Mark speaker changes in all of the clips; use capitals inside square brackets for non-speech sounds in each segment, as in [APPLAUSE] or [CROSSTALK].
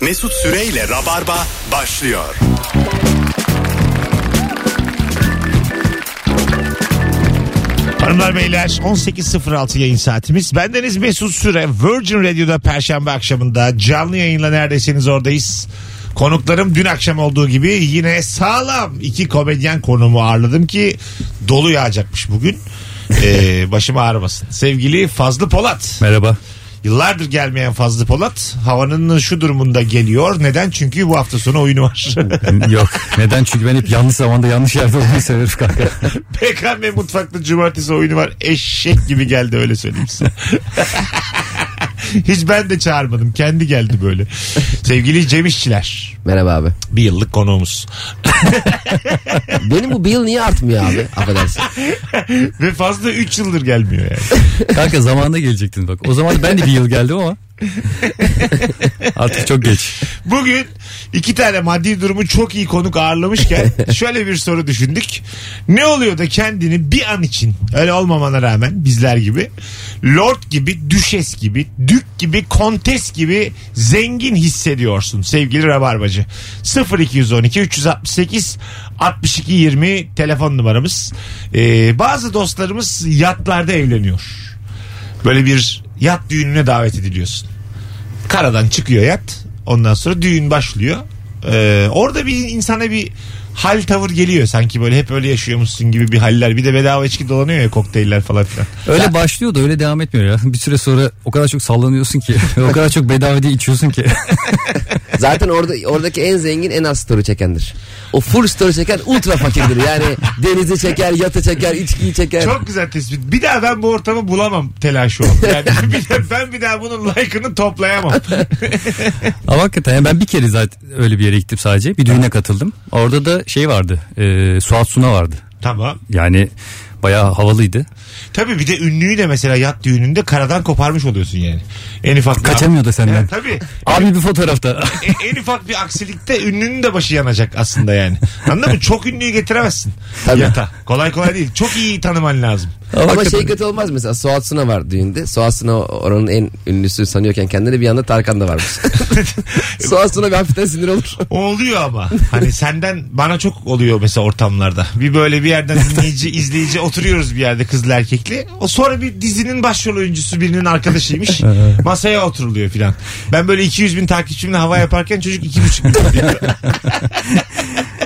Speaker 1: Mesut Süreyle Rabarba başlıyor.
Speaker 2: Hanımlar beyler 18.06 yayın saatimiz. Bendeniz Mesut Süre Virgin Radio'da Perşembe akşamında canlı yayınla neredesiniz oradayız. Konuklarım dün akşam olduğu gibi yine sağlam iki komedyen konuğumu ağırladım ki dolu yağacakmış bugün. Ee, başım ağrımasın. Sevgili Fazlı Polat.
Speaker 3: Merhaba.
Speaker 2: Yıllardır gelmeyen Fazlı Polat havanın şu durumunda geliyor. Neden? Çünkü bu hafta sonu oyunu var.
Speaker 3: [LAUGHS] Yok. Neden? Çünkü ben hep yanlış zamanda yanlış yerde olmayı severim kanka.
Speaker 2: PKM mutfakta cumartesi oyunu var. Eşek gibi geldi öyle söyleyeyim size. Hiç ben de çağırmadım. Kendi geldi böyle. Sevgili Cem İşçiler.
Speaker 4: Merhaba abi.
Speaker 2: Bir yıllık konuğumuz.
Speaker 4: Benim bu bir yıl niye artmıyor abi? Affedersin.
Speaker 2: Ve fazla 3 yıldır gelmiyor yani.
Speaker 3: Kanka zamanında gelecektin bak. O zaman ben de bir yıl geldim ama. Artık çok geç.
Speaker 2: Bugün iki tane maddi durumu çok iyi konuk ağırlamışken şöyle bir soru düşündük. Ne oluyor da kendini bir an için öyle olmamana rağmen bizler gibi lord gibi, düşes gibi, dük gibi, kontes gibi zengin hissediyorsun sevgili Rabarbacı. 0212 368 62 20 telefon numaramız. Ee, bazı dostlarımız yatlarda evleniyor. Böyle bir yat düğününe davet ediliyorsun karadan çıkıyor yat. Ondan sonra düğün başlıyor. Ee, orada bir insana bir hal tavır geliyor sanki böyle hep öyle yaşıyormuşsun gibi bir haller. Bir de bedava içki dolanıyor ya kokteyller falan filan.
Speaker 3: Öyle başlıyor da öyle devam etmiyor ya. Bir süre sonra o kadar çok sallanıyorsun ki. [LAUGHS] o kadar çok bedava diye içiyorsun ki.
Speaker 4: Zaten orada oradaki en zengin en az story çekendir. O full story çeken ultra fakirdir. Yani denizi çeker, yatı çeker, içkiyi çeker.
Speaker 2: Çok güzel tespit. Bir daha ben bu ortamı bulamam telaşı ol. Yani bir de- ben bir daha bunun like'ını toplayamam.
Speaker 3: Ama hakikaten ya ben bir kere zaten öyle bir yere gittim sadece. Bir düğüne katıldım. Orada da şey vardı. E, Suat Suna vardı.
Speaker 2: tamam.
Speaker 3: Yani bayağı havalıydı.
Speaker 2: Tabii bir de ünlüyü de mesela yat düğününde karadan koparmış oluyorsun yani. En ufak
Speaker 3: Kaçamıyor da senden.
Speaker 2: Evet, tabii.
Speaker 3: Abi bir fotoğrafta.
Speaker 2: E, en ufak bir aksilikte ünlünün de başı yanacak aslında yani. Anladın mı? Çok ünlüyü getiremezsin
Speaker 4: Tabii.
Speaker 2: yata. Kolay kolay değil. Çok iyi tanıman lazım.
Speaker 4: Ama şey kötü olmaz mesela Suat Suna var düğünde. Suat Suna oranın en ünlüsü sanıyorken kendini bir yanda Tarkan da varmış. Suat Suna bir hafiften sinir olur.
Speaker 2: O Oluyor ama. Hani senden bana çok oluyor mesela ortamlarda. Bir böyle bir yerden dinleyici, izleyici oturuyoruz bir yerde kızla erkekli. O sonra bir dizinin başrol oyuncusu birinin arkadaşıymış. Masaya oturuluyor filan. Ben böyle 200 bin takipçimle hava yaparken çocuk 2,5 milyon diyor.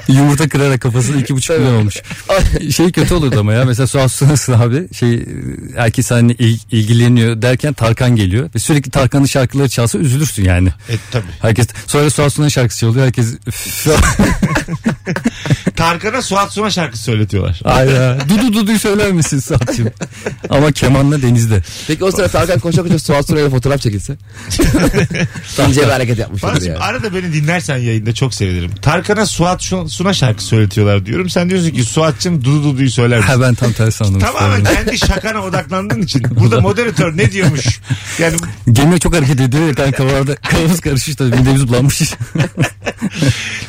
Speaker 3: Yumurta kırarak kafasını iki buçuk milyon olmuş. şey kötü olurdu ama ya mesela Suat Sunas'ın abi şey herkes hani il- ilgileniyor derken Tarkan geliyor ve sürekli Tarkan'ın şarkıları çalsa üzülürsün yani.
Speaker 2: E tabii.
Speaker 3: Herkes sonra Suat Sunas'ın şarkısı çalıyor herkes üf,
Speaker 2: Tarkan'a Suat Suna şarkısı söyletiyorlar.
Speaker 3: aynen dudu duduyu söyler misin Suat'cığım? Ama kemanla denizde.
Speaker 4: Peki o sırada Tarkan koşa koşa Suat Suna'yla fotoğraf çekilse. İnce bir hareket yapmış olur
Speaker 2: Farkım
Speaker 4: yani.
Speaker 2: arada beni dinlersen yayında çok sevinirim. Tarkan'a Suat Şu- Suna şarkı söyletiyorlar diyorum. Sen diyorsun ki Suat'cığım Dudu Dudu'yu söyler
Speaker 3: [LAUGHS]
Speaker 2: misin?
Speaker 3: Ha ben tam tersi anlamıştım.
Speaker 2: Tamamen kendi şakana odaklandığın için. Burada moderatör ne diyormuş? Yani
Speaker 3: Gemiye çok hareket ediyor ya kanka bu arada kafamız karışmış tabii midemiz bulanmış.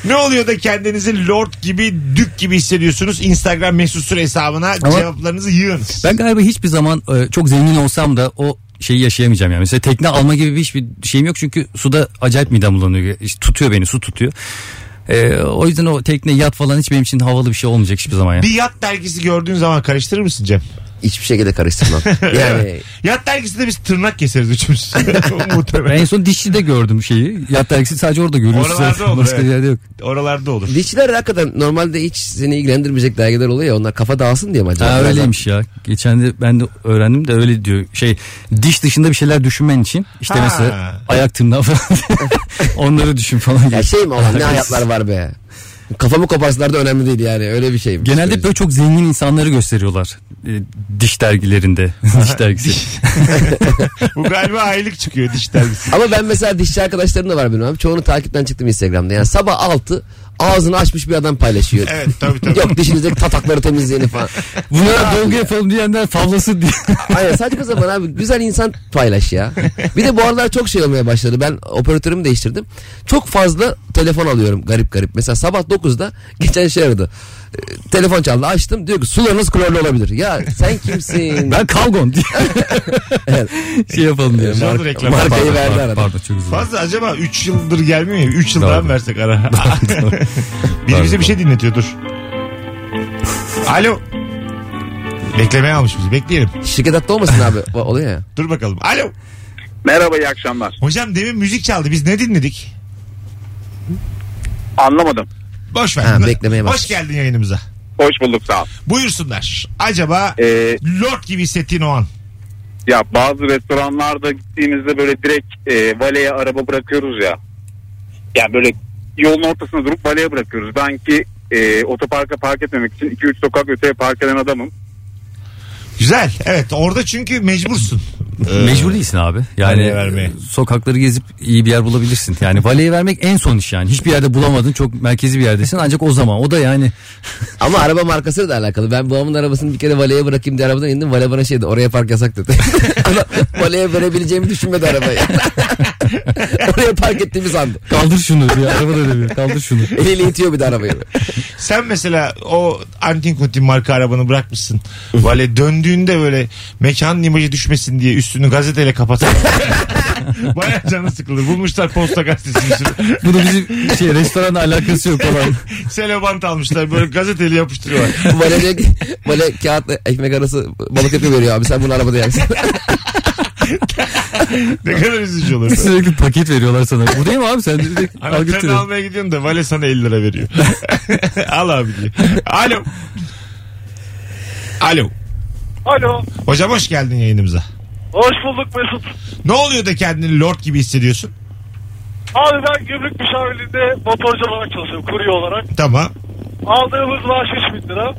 Speaker 2: ne oluyor da kendinizi lord gibi, dük gibi hissediyorsunuz? Instagram mesut süre hesabına
Speaker 3: Ama-
Speaker 2: cevaplarınızı yığınız.
Speaker 3: Ben galiba hiçbir zaman e, çok zengin olsam da o şeyi yaşayamayacağım yani. Mesela tekne alma gibi bir hiçbir şeyim yok çünkü suda acayip midem bulanıyor. İşte tutuyor beni su tutuyor. E, o yüzden o tekne yat falan hiç benim için havalı bir şey olmayacak hiçbir zaman ya.
Speaker 2: Bir yat dergisi gördüğün zaman karıştırır mısın Cem?
Speaker 4: Hiçbir şekilde karıştırmam. Yani
Speaker 2: Yat dergisinde biz tırnak keseriz üçümüz. [LAUGHS]
Speaker 3: Ben
Speaker 2: Muhtemelen.
Speaker 3: en son dişçide gördüm şeyi. Yat dergisi sadece orada görüyorsun.
Speaker 2: Oralarda olur,
Speaker 3: Başka
Speaker 2: evet.
Speaker 3: bir yerde yok.
Speaker 2: Oralarda olur.
Speaker 4: Dişçiler de hakikaten normalde hiç seni ilgilendirmeyecek dergiler oluyor ya onlar kafa dağılsın diye mi acaba?
Speaker 3: Ha,
Speaker 4: Biraz
Speaker 3: öyleymiş ya. Geçen de ben de öğrendim de öyle diyor. Şey diş dışında bir şeyler düşünmen için işte
Speaker 2: Ha.
Speaker 3: mesela ayak tırnağı falan [LAUGHS] onları düşün falan.
Speaker 4: Ya şey mi olan ne hayatlar var be. Kafamı koparsalar da önemli değil yani öyle bir şey.
Speaker 3: Genelde hep böyle çok zengin insanları gösteriyorlar. E, diş [LAUGHS] dergilerinde. diş dergisi.
Speaker 2: Bu galiba aylık çıkıyor diş dergisi.
Speaker 4: Ama ben mesela dişçi arkadaşlarım da var benim abi. Çoğunu takipten çıktım Instagram'da. Yani sabah 6 ağzını açmış bir adam paylaşıyor.
Speaker 2: Evet tabii tabii.
Speaker 4: Yok dişinizdeki tatakları temizleyeni falan.
Speaker 3: Bunlara dolgu yapalım diyenler favlası diye.
Speaker 4: Aynen saçma zaman abi güzel insan paylaş ya. Bir de bu aralar çok şey olmaya başladı. Ben operatörümü değiştirdim. Çok fazla telefon alıyorum garip garip. Mesela sabah 9'da geçen şey aradı. E, Telefon çaldı açtım diyor ki sularınız klorlu olabilir. Ya sen
Speaker 3: [LAUGHS]
Speaker 4: kimsin?
Speaker 3: Ben Kalgon [LAUGHS] diye. şey yapalım diye.
Speaker 2: Sonra reklam.
Speaker 4: markayı
Speaker 3: Pardon,
Speaker 4: verdi
Speaker 3: pardon,
Speaker 4: arada.
Speaker 3: Pardon çok üzüldüm.
Speaker 2: Fazla acaba 3 yıldır gelmiyor ya. 3 yıl daha mı
Speaker 3: Doğru.
Speaker 2: versek ara? Biri [LAUGHS]
Speaker 3: Doğru,
Speaker 2: bize bir şey dinletiyor dur. Alo. Beklemeye almış bizi. Bekleyelim.
Speaker 4: Şirket hatta olmasın abi. O- Oluyor ya.
Speaker 2: Dur bakalım. Alo.
Speaker 5: Merhaba iyi akşamlar.
Speaker 2: Hocam demin müzik çaldı. Biz ne dinledik?
Speaker 5: Anlamadım.
Speaker 2: Boş ver.
Speaker 4: Ha, beklemeye bak.
Speaker 2: Hoş geldin yayınımıza.
Speaker 5: Hoş bulduk sağ ol.
Speaker 2: Buyursunlar. Acaba
Speaker 5: Ee,
Speaker 2: Lord gibi hissettiğin o an.
Speaker 5: ya bazı restoranlarda gittiğimizde böyle direkt e, valeye araba bırakıyoruz ya. Yani böyle yolun ortasına durup valeye bırakıyoruz. Ben ki e, otoparka park etmemek için 2-3 sokak öteye park eden adamım.
Speaker 2: Güzel. Evet orada çünkü mecbursun.
Speaker 3: Mecbur değilsin abi. Yani
Speaker 2: Valeye vermeye.
Speaker 3: sokakları gezip iyi bir yer bulabilirsin. Yani valeye vermek en son iş yani. Hiçbir yerde bulamadın. Çok merkezi bir yerdesin. Ancak o zaman o da yani
Speaker 4: [LAUGHS]
Speaker 3: [LAUGHS]
Speaker 4: Ama araba markasıyla da alakalı. Ben babamın arabasını bir kere valeye bırakayım diye arabadan indim. Vale bana şey dedi oraya park yasak dedi. [LAUGHS] Ama valeye verebileceğimi düşünmedi arabayı. [LAUGHS] oraya park ettiğimi sandı.
Speaker 3: kaldır şunu diye arabada dönüyor. Kaldır şunu.
Speaker 4: Eliyle itiyor bir de arabayı.
Speaker 2: Sen mesela o antin kuntin marka arabanı bırakmışsın. Vale döndüğünde böyle mekanın imajı düşmesin diye üstünü gazeteyle kapatan. Baya canı sıkılır. Bulmuşlar posta gazetesinin üstüne.
Speaker 3: Bunu bizim şey restoranla alakası yok olan.
Speaker 2: Selobant almışlar böyle gazeteyle yapıştırıyorlar.
Speaker 4: Vale, diyor ki, vale kağıtla ekmek arası balık yapıyor veriyor abi sen bunu arabada yersin. [LAUGHS]
Speaker 2: Ne kadar üzücü
Speaker 3: [LAUGHS]
Speaker 2: olur.
Speaker 3: Sürekli paket veriyorlar sana. Buradayım abi sen direkt al
Speaker 2: Anahtarını
Speaker 3: götür.
Speaker 2: almaya gidiyorsun da Vale sana 50 lira veriyor. [LAUGHS] Al abi diyor. Alo. Alo.
Speaker 6: Alo.
Speaker 2: Hocam hoş geldin yayınımıza.
Speaker 6: Hoş bulduk Mesut.
Speaker 2: Ne oluyor da kendini lord gibi hissediyorsun?
Speaker 6: Abi ben gümrük müşavirliğinde motorcu olarak çalışıyorum. Kurye olarak.
Speaker 2: Tamam.
Speaker 6: Aldığımız maaş 3 bin lira.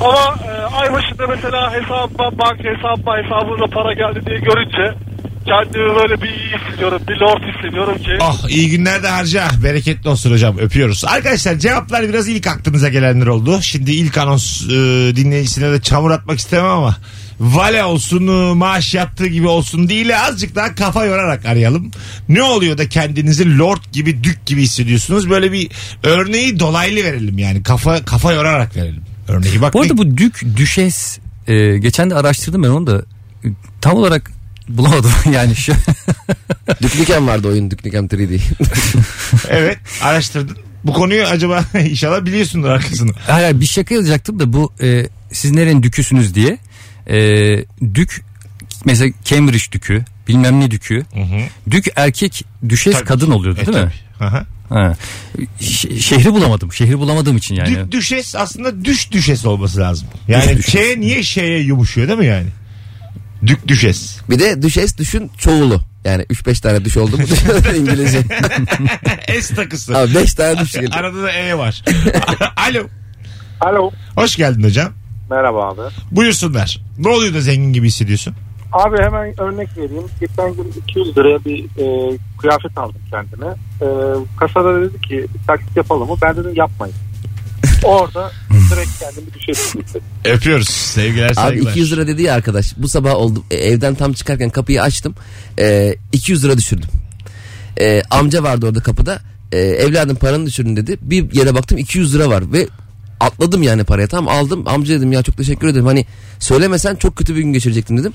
Speaker 6: Ama e, ay başında mesela hesabıma banka hesabıma hesabımıza para geldi diye görünce kendimi böyle bir iyi hissediyorum. Bir lord hissediyorum ki.
Speaker 2: Oh iyi günler de harca. Bereketli olsun hocam. Öpüyoruz. Arkadaşlar cevaplar biraz ilk aklınıza gelenler oldu. Şimdi ilk anons e, dinleyicisine de çamur atmak istemem ama vale olsun e, maaş yattığı gibi olsun değil azıcık daha kafa yorarak arayalım. Ne oluyor da kendinizi lord gibi dük gibi hissediyorsunuz? Böyle bir örneği dolaylı verelim yani. Kafa kafa yorarak verelim. Örneği bak.
Speaker 3: Bu arada bu dük düşes e, geçen de araştırdım ben onu da e, tam olarak bulamadım [LAUGHS] yani şu
Speaker 4: Düknikem vardı oyun Düknikem 3D.
Speaker 2: Evet araştırdın. Bu konuyu acaba [LAUGHS] inşallah biliyorsundur arkasını.
Speaker 3: Hayır, hayır, bir şaka yazacaktım da bu e, siz nerenin düküsünüz diye. E, dük mesela Cambridge dükü bilmem ne dükü. Dük erkek düşes
Speaker 2: Tabii.
Speaker 3: kadın oluyordu
Speaker 2: E,
Speaker 3: değil mi?
Speaker 2: tabii. Aha.
Speaker 3: Ha. Ş- şehri bulamadım. Şehri bulamadığım için yani.
Speaker 2: Dük düşes aslında düş düşes olması lazım. Yani
Speaker 3: düşes.
Speaker 2: Ç niye şeye yumuşuyor değil mi yani? Dük düşes.
Speaker 4: Bir de düşes düşün çoğulu. Yani 3-5 tane düş oldu mu? [LAUGHS] İngilizce.
Speaker 2: S [LAUGHS] takısı.
Speaker 4: Abi 5 tane düş geliyor.
Speaker 2: Arada da E var. [LAUGHS] Alo.
Speaker 6: Alo.
Speaker 2: Hoş geldin hocam.
Speaker 6: Merhaba abi.
Speaker 2: Buyursunlar. Ne oluyor da zengin gibi hissediyorsun?
Speaker 6: Abi hemen örnek vereyim. Geçen gün 200 liraya bir e, kıyafet aldım kendime. E, kasada dedi ki taksit yapalım mı? Ben dedim yapmayın. Orada direkt kendimi düşürdüm.
Speaker 2: Öpüyoruz. Sevgiler
Speaker 4: Abi
Speaker 2: saygılar.
Speaker 4: 200 lira dedi ya arkadaş. Bu sabah oldu e, evden tam çıkarken kapıyı açtım. E, 200 lira düşürdüm. E, amca vardı orada kapıda. E, evladım paranı düşürdün dedi. Bir yere baktım 200 lira var ve atladım yani paraya tam aldım. Amca dedim ya çok teşekkür ederim. Hani söylemesen çok kötü bir gün geçirecektim dedim.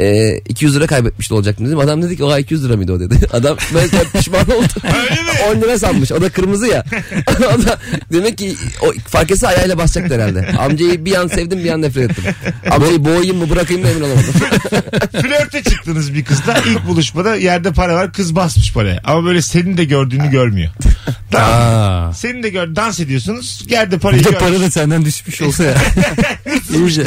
Speaker 4: E, 200 lira kaybetmiş de olacaktım dedim. Adam dedi ki oha 200 lira mıydı o dedi. [LAUGHS] Adam böyle pişman oldu.
Speaker 2: [LAUGHS] Öyle
Speaker 4: [LAUGHS]
Speaker 2: mi?
Speaker 4: 10 lira sanmış. O da
Speaker 2: [LAUGHS]
Speaker 4: kırmızı ya. [LAUGHS] o da demek ki o fark etse ayağıyla basacaktı herhalde. Amcayı bir an sevdim bir an nefret ettim. Amcayı boğayım mı bırakayım mı emin
Speaker 2: [LAUGHS]
Speaker 4: olamadım. [LAUGHS]
Speaker 2: Flörte çıktınız bir kızla. ilk buluşmada yerde para var. Kız basmış paraya. Ama böyle senin de gördüğünü [LAUGHS] görmüyor. Tamam.
Speaker 3: Aa.
Speaker 2: Senin de gör dans ediyorsunuz. Yerde parayı
Speaker 3: Bir de
Speaker 2: görmüyor.
Speaker 3: para da senden düşmüş olsa ya. [LAUGHS] İyice.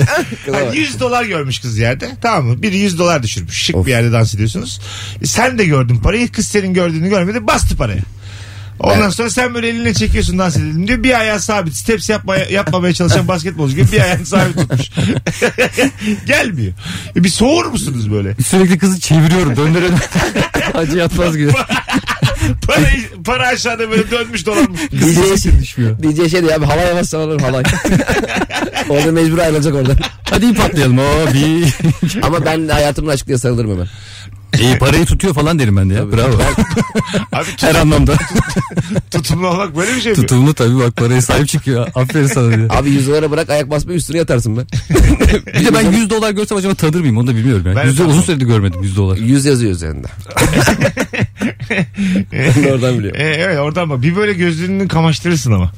Speaker 2: Hani 100 dolar görmüş kız yerde. Tamam mı? Biri 100 dolar düşürmüş. Şık bir yerde dans ediyorsunuz. E, sen de gördün parayı. Kız senin gördüğünü görmedi. Bastı parayı. Ondan sonra sen böyle eline çekiyorsun dans edelim diyor. Bir ayağı sabit. Steps yapmaya, yapmamaya çalışan basketbolcu gibi bir ayağını sabit tutmuş. [LAUGHS] Gelmiyor. E, bir soğur musunuz böyle?
Speaker 3: Sürekli kızı çeviriyorum döndürelim.
Speaker 2: [LAUGHS]
Speaker 3: Hacı yatmaz gibi.
Speaker 2: Parayı, para aşağıda böyle dönmüş dolanmış.
Speaker 4: DJ,
Speaker 3: düşmüyor.
Speaker 4: DJ şey diyor abi halay yavaş sallanır halay. [LAUGHS] orada mecbur ayrılacak oradan.
Speaker 3: Hadi ip atlayalım. O bir.
Speaker 4: Ama ben hayatımın aşk diye sarılırım hemen.
Speaker 3: İyi parayı tutuyor falan derim ben de ya. Bravo.
Speaker 2: Abi tut- [LAUGHS]
Speaker 3: Her anlamda.
Speaker 2: tutumlu olmak böyle bir şey mi? [LAUGHS]
Speaker 3: Tutumlu tabii bak paraya sahip çıkıyor. Aferin sana diyor.
Speaker 4: Abi 100 dolara bırak ayak basma üstüne yatarsın be.
Speaker 3: Bir de ben 100 dolar görsem acaba tanır mıyım onu da bilmiyorum yani.
Speaker 2: Ben
Speaker 3: Yüzde
Speaker 2: tanımam.
Speaker 3: uzun süredir görmedim 100 dolar.
Speaker 4: 100 yazıyor üzerinde. Ben de oradan biliyorum.
Speaker 2: E, evet oradan bak. Bir böyle gözlerini kamaştırırsın ama.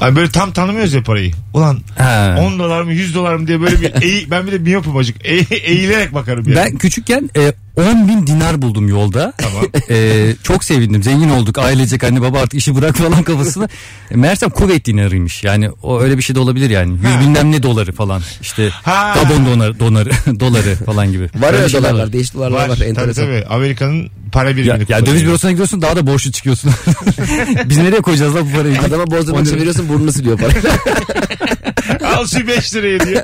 Speaker 2: Ay böyle tam tanımıyoruz ya parayı. Ulan
Speaker 3: Ha.
Speaker 2: 10 dolar mı 100 dolar mı diye böyle bir eğ, ben bir de miyopum acık. E, eğilerek bakarım yani.
Speaker 3: Ben küçükken e, 10 bin dinar buldum yolda.
Speaker 2: Tamam.
Speaker 3: [LAUGHS] E, çok sevindim. Zengin olduk. Ailecek anne baba artık işi bırak falan kafasına. E, Meğersem kuvvet dinarıymış. Yani o öyle bir şey de olabilir yani. Yüz
Speaker 2: Ha.
Speaker 3: bilmem ne doları falan. İşte
Speaker 2: Ha.
Speaker 3: Gabon donar, donarı, [LAUGHS] doları falan gibi.
Speaker 4: Var
Speaker 3: Öyle
Speaker 4: öyle
Speaker 3: şeyler
Speaker 4: dolarlar, değişik dolarlar var,
Speaker 2: tabii
Speaker 4: enteresan.
Speaker 2: tabii. Amerika'nın para birimini
Speaker 3: Ya, ya
Speaker 2: kullanıyor.
Speaker 3: döviz bürosuna gidiyorsun daha da borçlu çıkıyorsun. [LAUGHS] Biz nereye koyacağız lan bu parayı?
Speaker 4: Adama bozdurma çeviriyorsun burnunu siliyor para.
Speaker 2: [LAUGHS] Al şu 5 lirayı diyor.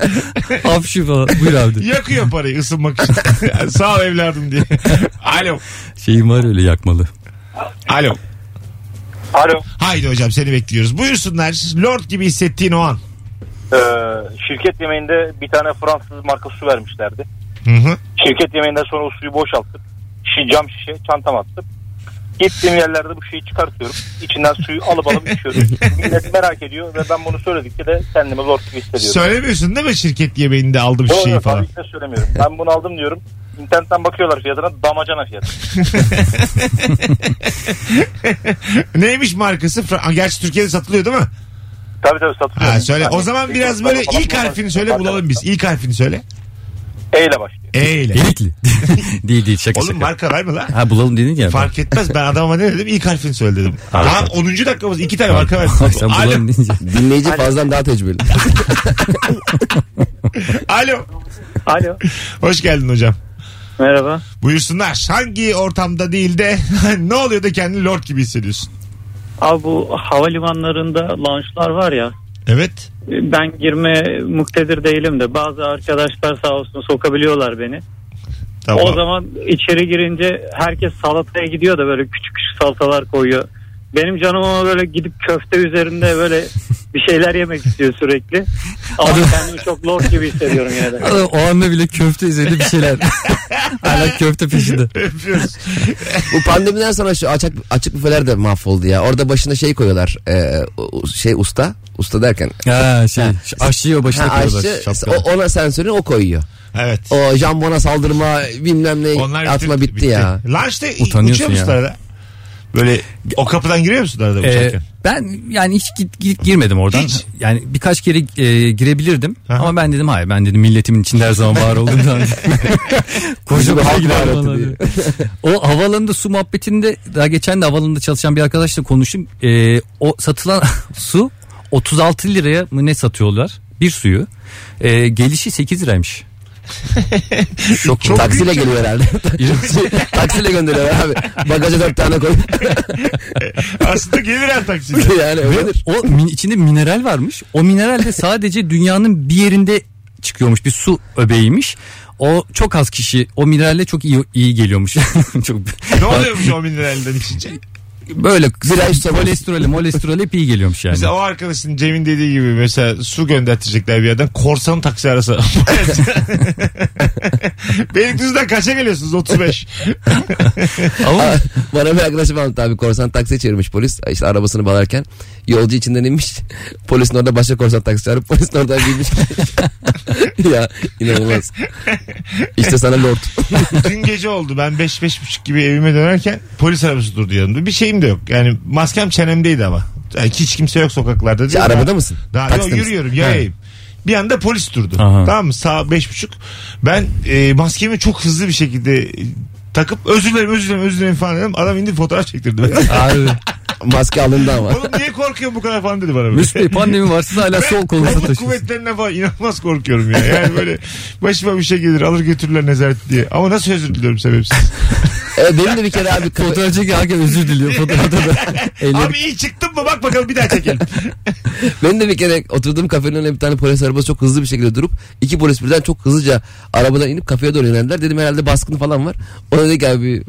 Speaker 3: Afşu falan. Buyur abi. de.
Speaker 2: Yakıyor parayı ısınmak için. [LAUGHS] Sağ ol evladım diye. Alo.
Speaker 3: Şeyim var öyle yakmalı.
Speaker 2: Alo.
Speaker 6: Alo.
Speaker 2: Haydi hocam seni bekliyoruz. Buyursunlar. Lord gibi hissettiğin o an.
Speaker 6: Ee, şirket yemeğinde bir tane Fransız marka su vermişlerdi.
Speaker 2: Hı hı.
Speaker 6: Şirket yemeğinden sonra o suyu boşalttık. Şi, cam şişe çantam attım. Gittiğim yerlerde bu şeyi çıkartıyorum. İçinden suyu alıp
Speaker 2: [LAUGHS]
Speaker 6: alıp içiyorum. Millet merak ediyor ve ben bunu söyledikçe de kendimi zor gibi hissediyorum.
Speaker 2: Söylemiyorsun değil mi şirket yemeğinde aldım
Speaker 6: Doğru,
Speaker 2: şeyi şey falan.
Speaker 6: Tabii ki de söylemiyorum. Ben bunu aldım diyorum. İnternetten bakıyorlar fiyatına damacana şey fiyatı.
Speaker 2: Neymiş markası? Fra- Gerçi Türkiye'de satılıyor değil mi?
Speaker 6: Tabii tabii satılıyor.
Speaker 2: Ha söyle.
Speaker 6: Yani şey
Speaker 2: O zaman biraz böyle ilk harfini söyle bulalım biz. İlk harfini söyle.
Speaker 6: E ile başlıyor.
Speaker 2: E ile.
Speaker 3: [LAUGHS] Delikli. [LAUGHS] değil değil şaka
Speaker 2: Oğlum
Speaker 3: şaka.
Speaker 2: marka var mı lan?
Speaker 3: Ha bulalım dedin ya.
Speaker 2: Fark etmez. Ben adama ne dedim? İlk harfini söyle dedim.
Speaker 3: Harika.
Speaker 2: Daha 10. dakikamız. iki tane marka
Speaker 3: Ay,
Speaker 2: verdim.
Speaker 3: [LAUGHS] Sen
Speaker 2: Alo.
Speaker 3: bulalım deyince.
Speaker 4: Dinleyici fazladan daha tecrübeli.
Speaker 2: Alo.
Speaker 7: Alo.
Speaker 2: [LAUGHS] Hoş geldin hocam.
Speaker 7: Merhaba.
Speaker 2: Buyursunlar. Hangi ortamda değil de [LAUGHS] ne oluyor da kendini lord gibi hissediyorsun?
Speaker 7: Abi bu havalimanlarında lounge'lar var ya.
Speaker 2: Evet.
Speaker 7: Ben girme muktedir değilim de bazı arkadaşlar sağ olsun sokabiliyorlar beni.
Speaker 2: Tamam.
Speaker 7: O zaman içeri girince herkes salataya gidiyor da böyle küçük küçük salatalar koyuyor. Benim canım ama böyle gidip köfte
Speaker 3: [LAUGHS]
Speaker 7: üzerinde böyle bir şeyler yemek istiyor sürekli. Ama kendimi çok lord gibi hissediyorum yine
Speaker 3: [LAUGHS]
Speaker 7: de.
Speaker 3: Aa, O anda bile köfte üzerinde bir [LAUGHS] şeyler. Hala köfte peşinde.
Speaker 2: [LAUGHS] Öpüyoruz.
Speaker 4: Bu pandemiden sonra şu açık, açık büfeler de mahvoldu ya. Orada başına şey koyuyorlar. e, u- şey usta. Usta derken.
Speaker 3: Ha şey. şu Aşçıyı o başına
Speaker 4: Ha,
Speaker 3: koyuyorlar.
Speaker 4: aşçı
Speaker 3: şapkada.
Speaker 4: o, ona sensörü o koyuyor.
Speaker 2: Evet.
Speaker 4: O jambona saldırma bilmem ne
Speaker 2: Onlar
Speaker 4: atma bitti, ya.
Speaker 2: Lunch'ta
Speaker 3: Utanıyorsun
Speaker 2: uçuyor musun
Speaker 3: ya.
Speaker 2: arada? Böyle o kapıdan giriyor musun arada
Speaker 3: Ee,
Speaker 2: uçarken?
Speaker 3: [LAUGHS] ben yani hiç git- git- girmedim oradan.
Speaker 2: Hiç.
Speaker 3: Yani birkaç kere e, girebilirdim.
Speaker 2: Aha.
Speaker 3: Ama ben dedim hayır ben dedim milletimin içinde her zaman var
Speaker 4: [LAUGHS]
Speaker 3: olduğumdan. Koca
Speaker 4: Bizim
Speaker 3: bir
Speaker 4: halk
Speaker 3: gider
Speaker 4: baharatı
Speaker 3: bana
Speaker 4: diye.
Speaker 3: diye. O havalanında su muhabbetinde daha geçen de havalanında çalışan bir arkadaşla konuştum. E, o satılan [LAUGHS] su 36 liraya mı ne satıyorlar? Bir suyu. E, gelişi 8 liraymış. Şok.
Speaker 2: Çok
Speaker 4: Taksiyle geliyor herhalde. [LAUGHS] Taksiyle gönderiyor abi. Bagaja dört tane koy.
Speaker 2: Aslında gelir her
Speaker 4: [LAUGHS]
Speaker 2: taksiyle.
Speaker 4: yani öyledir.
Speaker 3: O min- içinde mineral varmış. O mineral de sadece [LAUGHS] dünyanın bir yerinde çıkıyormuş. Bir su öbeğiymiş. O çok az kişi o mineralle çok iyi iyi geliyormuş. [LAUGHS] çok
Speaker 2: ne oluyormuş o mineralden içince?
Speaker 3: böyle
Speaker 4: ay sonra-
Speaker 3: kolesterolü, molesterol hep iyi geliyormuş yani.
Speaker 2: Mesela o arkadaşın Cem'in dediği gibi mesela su göndertecekler bir yerden korsan taksi [LAUGHS] arasa. Beylikdüzü'den kaça geliyorsunuz 35?
Speaker 3: Ama
Speaker 4: [LAUGHS] Bana bir arkadaşım anlattı abi. Korsan taksiye çevirmiş polis. İşte arabasını bağlarken. Yolcu içinden inmiş. [LAUGHS] Polisin orada başka korsan taksi çağırıp polisin oradan binmiş. [LAUGHS] ya inanılmaz. İşte sana lord.
Speaker 2: Dün gece oldu ben 5 buçuk gibi evime dönerken polis arabası durdu yanımda. Bir şeyim de yok yani maskem çenemdeydi ama. Yani hiç kimse yok sokaklarda.
Speaker 4: Sen
Speaker 2: Daha-
Speaker 4: Şey, arabada mısın?
Speaker 2: Daha yok,
Speaker 4: Takside misin?
Speaker 2: yürüyorum yayayım. Bir anda polis durdu.
Speaker 3: Aha.
Speaker 2: Tamam mı? Sağ beş buçuk. Ben e, maskemi çok hızlı bir şekilde e, takıp özür dilerim özür dilerim özür dilerim falan dedim. Adam indi fotoğraf çektirdi. [LAUGHS] beni.
Speaker 3: abi
Speaker 4: Maske alındı ama.
Speaker 2: Oğlum niye korkuyorsun bu kadar falan dedi bana. böyle.
Speaker 3: Mesut Bey pandemi var siz hala sol kolunuzu
Speaker 2: Kolluk
Speaker 3: taşıyorsunuz.
Speaker 2: kuvvetlerinden falan inanılmaz korkuyorum ya. Yani böyle başıma bir şey gelir alır götürürler nezaret diye. Ama nasıl özür diliyorum sebepsiz.
Speaker 4: Evet, benim de bir kere abi kafa-
Speaker 3: Fotoğrafçı hakikaten özür diliyor
Speaker 2: [LAUGHS]
Speaker 3: fotoğrafta da. Elleri
Speaker 2: Abi iyi çıktın mı bak bakalım bir daha çekelim.
Speaker 4: Ben de bir kere oturduğum kafenin önüne bir tane polis arabası çok hızlı bir şekilde durup iki polis birden çok hızlıca arabadan inip kafeye doğru yöneldiler. Dedim herhalde baskın falan var. O da dedi ki abi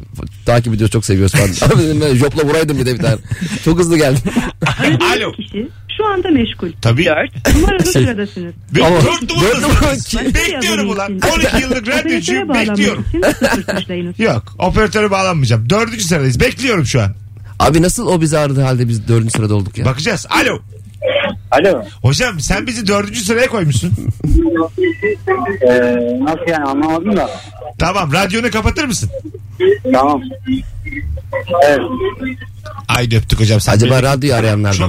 Speaker 4: takip [LAUGHS] ediyoruz çok seviyoruz falan. abi dedim ben jopla vuraydım bir de bir tane. Çok hızlı geldim.
Speaker 2: Alo.
Speaker 8: kişi şu anda meşgul.
Speaker 2: Tabii.
Speaker 8: Dört numaralı
Speaker 3: Şey-
Speaker 8: sıradasınız.
Speaker 2: Ve
Speaker 3: Ama-
Speaker 2: dört numarasınız.
Speaker 8: Başka
Speaker 2: Bekliyorum
Speaker 8: yazılı
Speaker 2: ulan.
Speaker 8: için-
Speaker 2: 12 yıllık radyocuyum
Speaker 8: Operatöre
Speaker 2: bekliyorum.
Speaker 8: bağlanmak için sıfır tuşlayınız.
Speaker 2: Yok operatöre bağlanmayacağım. Dördüncü sıradayız. Bekliyorum şu an.
Speaker 4: Abi nasıl o bizi aradı halde biz dördüncü sırada olduk ya.
Speaker 2: Bakacağız. Alo.
Speaker 5: Alo.
Speaker 2: Hocam sen bizi dördüncü sıraya koymuşsun.
Speaker 5: Ee, nasıl yani anlamadım da.
Speaker 2: Tamam radyonu kapatır mısın?
Speaker 5: Tamam. Evet.
Speaker 2: Haydi öptük hocam. Sen
Speaker 4: Acaba
Speaker 2: benim
Speaker 4: radyoyu arayanlardan.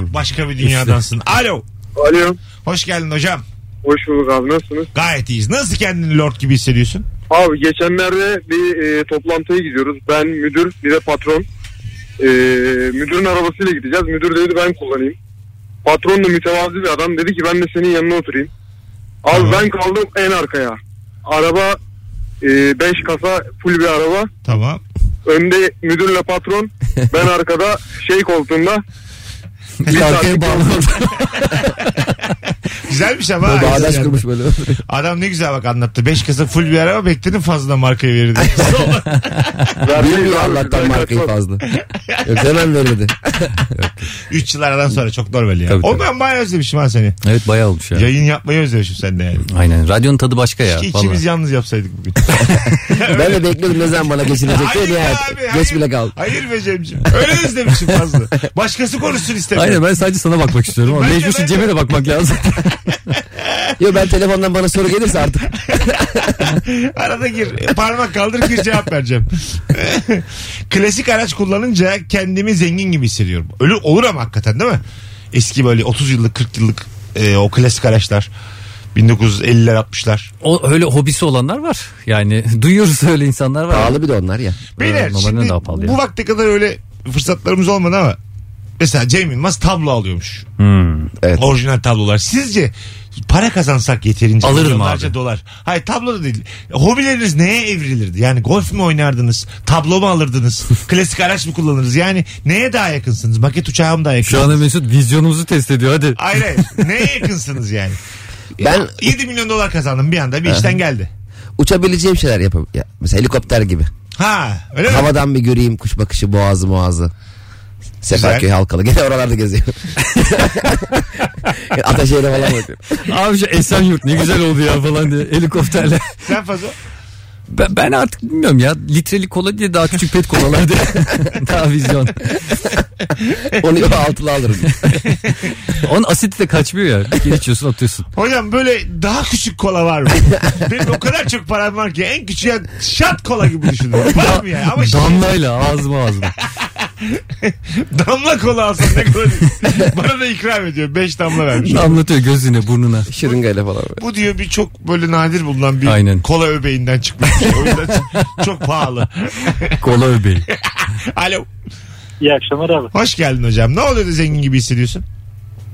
Speaker 2: [LAUGHS]
Speaker 4: mı?
Speaker 2: Çok başka bir dünyadansın. Alo.
Speaker 5: Alo.
Speaker 2: Hoş geldin hocam.
Speaker 5: Hoş bulduk abi nasılsınız?
Speaker 2: Gayet iyiyiz. Nasıl kendini lord gibi hissediyorsun?
Speaker 5: Abi geçenlerde bir e, toplantıya gidiyoruz. Ben müdür bir de patron. E, müdürün arabasıyla gideceğiz. Müdür dedi ben kullanayım. Patron da mütevazi bir adam dedi ki ben de senin yanına oturayım. Abi
Speaker 2: Tamam.
Speaker 5: ben kaldım en arkaya. Araba e, 5
Speaker 4: [LAUGHS]
Speaker 5: kasa full bir araba.
Speaker 2: Tamam.
Speaker 5: Önde müdürle patron.
Speaker 6: [LAUGHS]
Speaker 5: Ben arkada şey koltuğunda.
Speaker 4: Bir arkaya bağlandı. [LAUGHS]
Speaker 2: Güzelmiş ama.
Speaker 4: Böyle
Speaker 2: ha.
Speaker 4: bağdaş
Speaker 2: Güzel.
Speaker 4: kurmuş böyle.
Speaker 2: Adam ne güzel bak anlattı. 5 kasa full bir araba bekledim fazla markayı
Speaker 3: [LAUGHS]
Speaker 2: verirdi.
Speaker 5: Vermeyiz
Speaker 4: [LAUGHS] Bilmiyor
Speaker 5: abi,
Speaker 4: Allah'tan
Speaker 5: ben
Speaker 4: markayı
Speaker 5: kaçmam.
Speaker 4: fazla. Yoksa hemen verirdi.
Speaker 2: 3 yıl aradan sonra çok normal ya.
Speaker 3: Tabii,
Speaker 2: o
Speaker 3: tabii.
Speaker 2: ben bayağı özlemişim ha seni.
Speaker 3: Evet bayağı olmuş ya.
Speaker 2: Yayın yapmayı özlemişim seninle yani.
Speaker 3: Aynen. Radyonun tadı başka ya.
Speaker 2: Ki
Speaker 3: vallahi.
Speaker 2: ikimiz yalnız yapsaydık
Speaker 3: [LAUGHS]
Speaker 2: bugün.
Speaker 4: Ben de bekliyordum ne zaman bana geçirecek diye.
Speaker 2: Hayır be
Speaker 4: nihayet.
Speaker 2: abi, hayır.
Speaker 4: Geç bile kaldı.
Speaker 2: Hayır be Cemciğim. Öyle özlemişim
Speaker 3: [LAUGHS]
Speaker 2: fazla. Başkası konuşsun istemiyorum.
Speaker 3: Aynen ben sadece sana bakmak istiyorum ama
Speaker 2: Ben de, ben
Speaker 3: mecbursun
Speaker 2: de.
Speaker 3: Cem'e de
Speaker 2: [LAUGHS]
Speaker 3: bakmak lazım.
Speaker 4: Yo ben telefondan bana soru
Speaker 2: [LAUGHS]
Speaker 4: gelirse artık.
Speaker 2: Arada gir. Parmak kaldır gir cevap vereceğim. [LAUGHS] Klasik araç kullanınca kendimi zengin gibi hissediyorum. Öyle olur ama hakikaten değil mi? Eski böyle 30 yıllık 40 yıllık e, o klasik araçlar. 1950'ler 60'lar.
Speaker 3: O, öyle hobisi olanlar var. Yani [LAUGHS] duyuyoruz öyle insanlar var.
Speaker 4: Pahalı bir de onlar ya.
Speaker 2: Beyler
Speaker 3: Evet, babanın
Speaker 2: Ee, şimdi
Speaker 3: daha pahalı
Speaker 2: bu
Speaker 3: ya.
Speaker 2: vakte kadar öyle fırsatlarımız olmadı ama mesela Cem Yılmaz tablo alıyormuş.
Speaker 4: Evet.
Speaker 2: Orijinal tablolar. Sizce para kazansak yeterince
Speaker 3: Alırdım
Speaker 2: milyonlarca
Speaker 3: abi.
Speaker 2: dolar. Hayır tablo da değil. Hobileriniz neye evrilirdi? Yani golf mü oynardınız? Tablo mu
Speaker 3: [LAUGHS]
Speaker 2: alırdınız? klasik araç mı kullanırız? Yani neye daha yakınsınız? Maket uçağı mı daha
Speaker 3: Şu
Speaker 2: yakınsınız?
Speaker 3: anda Mesut vizyonumuzu test ediyor hadi.
Speaker 2: Hayır hayır.
Speaker 3: [LAUGHS]
Speaker 2: neye yakınsınız yani?
Speaker 4: Ben
Speaker 2: 7 milyon dolar kazandım bir anda bir işten geldi.
Speaker 4: uçabileceğim şeyler yapabilirim. Ya, mesela helikopter gibi.
Speaker 2: Ha öyle mi?
Speaker 4: Havadan bir göreyim kuş bakışı boğazı boğazı. Sefaköy
Speaker 2: Güzel.
Speaker 4: halkalı. Gene
Speaker 2: [LAUGHS]
Speaker 4: oralarda geziyorum. [LAUGHS] Ataşehir'e falan bakıyorum.
Speaker 3: Abi şu Esenyurt ne güzel oldu ya falan diye helikopterle. [LAUGHS]
Speaker 2: Sen fazla.
Speaker 3: Ben, ben artık bilmiyorum ya litrelik kola diye daha küçük pet kolalar diye. [LAUGHS] daha vizyon.
Speaker 2: [LAUGHS]
Speaker 4: Onu yol altılı alırım.
Speaker 3: Onun asiti de kaçmıyor ya. Bir kere içiyorsun atıyorsun.
Speaker 2: Hocam böyle daha küçük kola var
Speaker 3: [LAUGHS]
Speaker 2: mı? Benim o kadar çok param var ki en küçüğü şat kola gibi düşünün. Var mı yani? Ama şey,
Speaker 3: Damlayla ağzıma ağzıma.
Speaker 2: damla kola alsam ne kadar
Speaker 3: [LAUGHS]
Speaker 2: Bana da ikram ediyor. Beş damla vermiş.
Speaker 3: Anlatıyor gözüne burnuna.
Speaker 4: Şırıngayla falan. böyle.
Speaker 2: Bu diyor bir çok böyle nadir bulunan bir
Speaker 3: Aynen.
Speaker 2: kola öbeğinden çıkmış. bir şey. O yüzden çok- çok pahalı.
Speaker 3: Kola öbeği.
Speaker 2: Alo.
Speaker 6: İyi akşamlar abi.
Speaker 2: Hoş geldin hocam. Ne oluyor da zengin gibi hissediyorsun?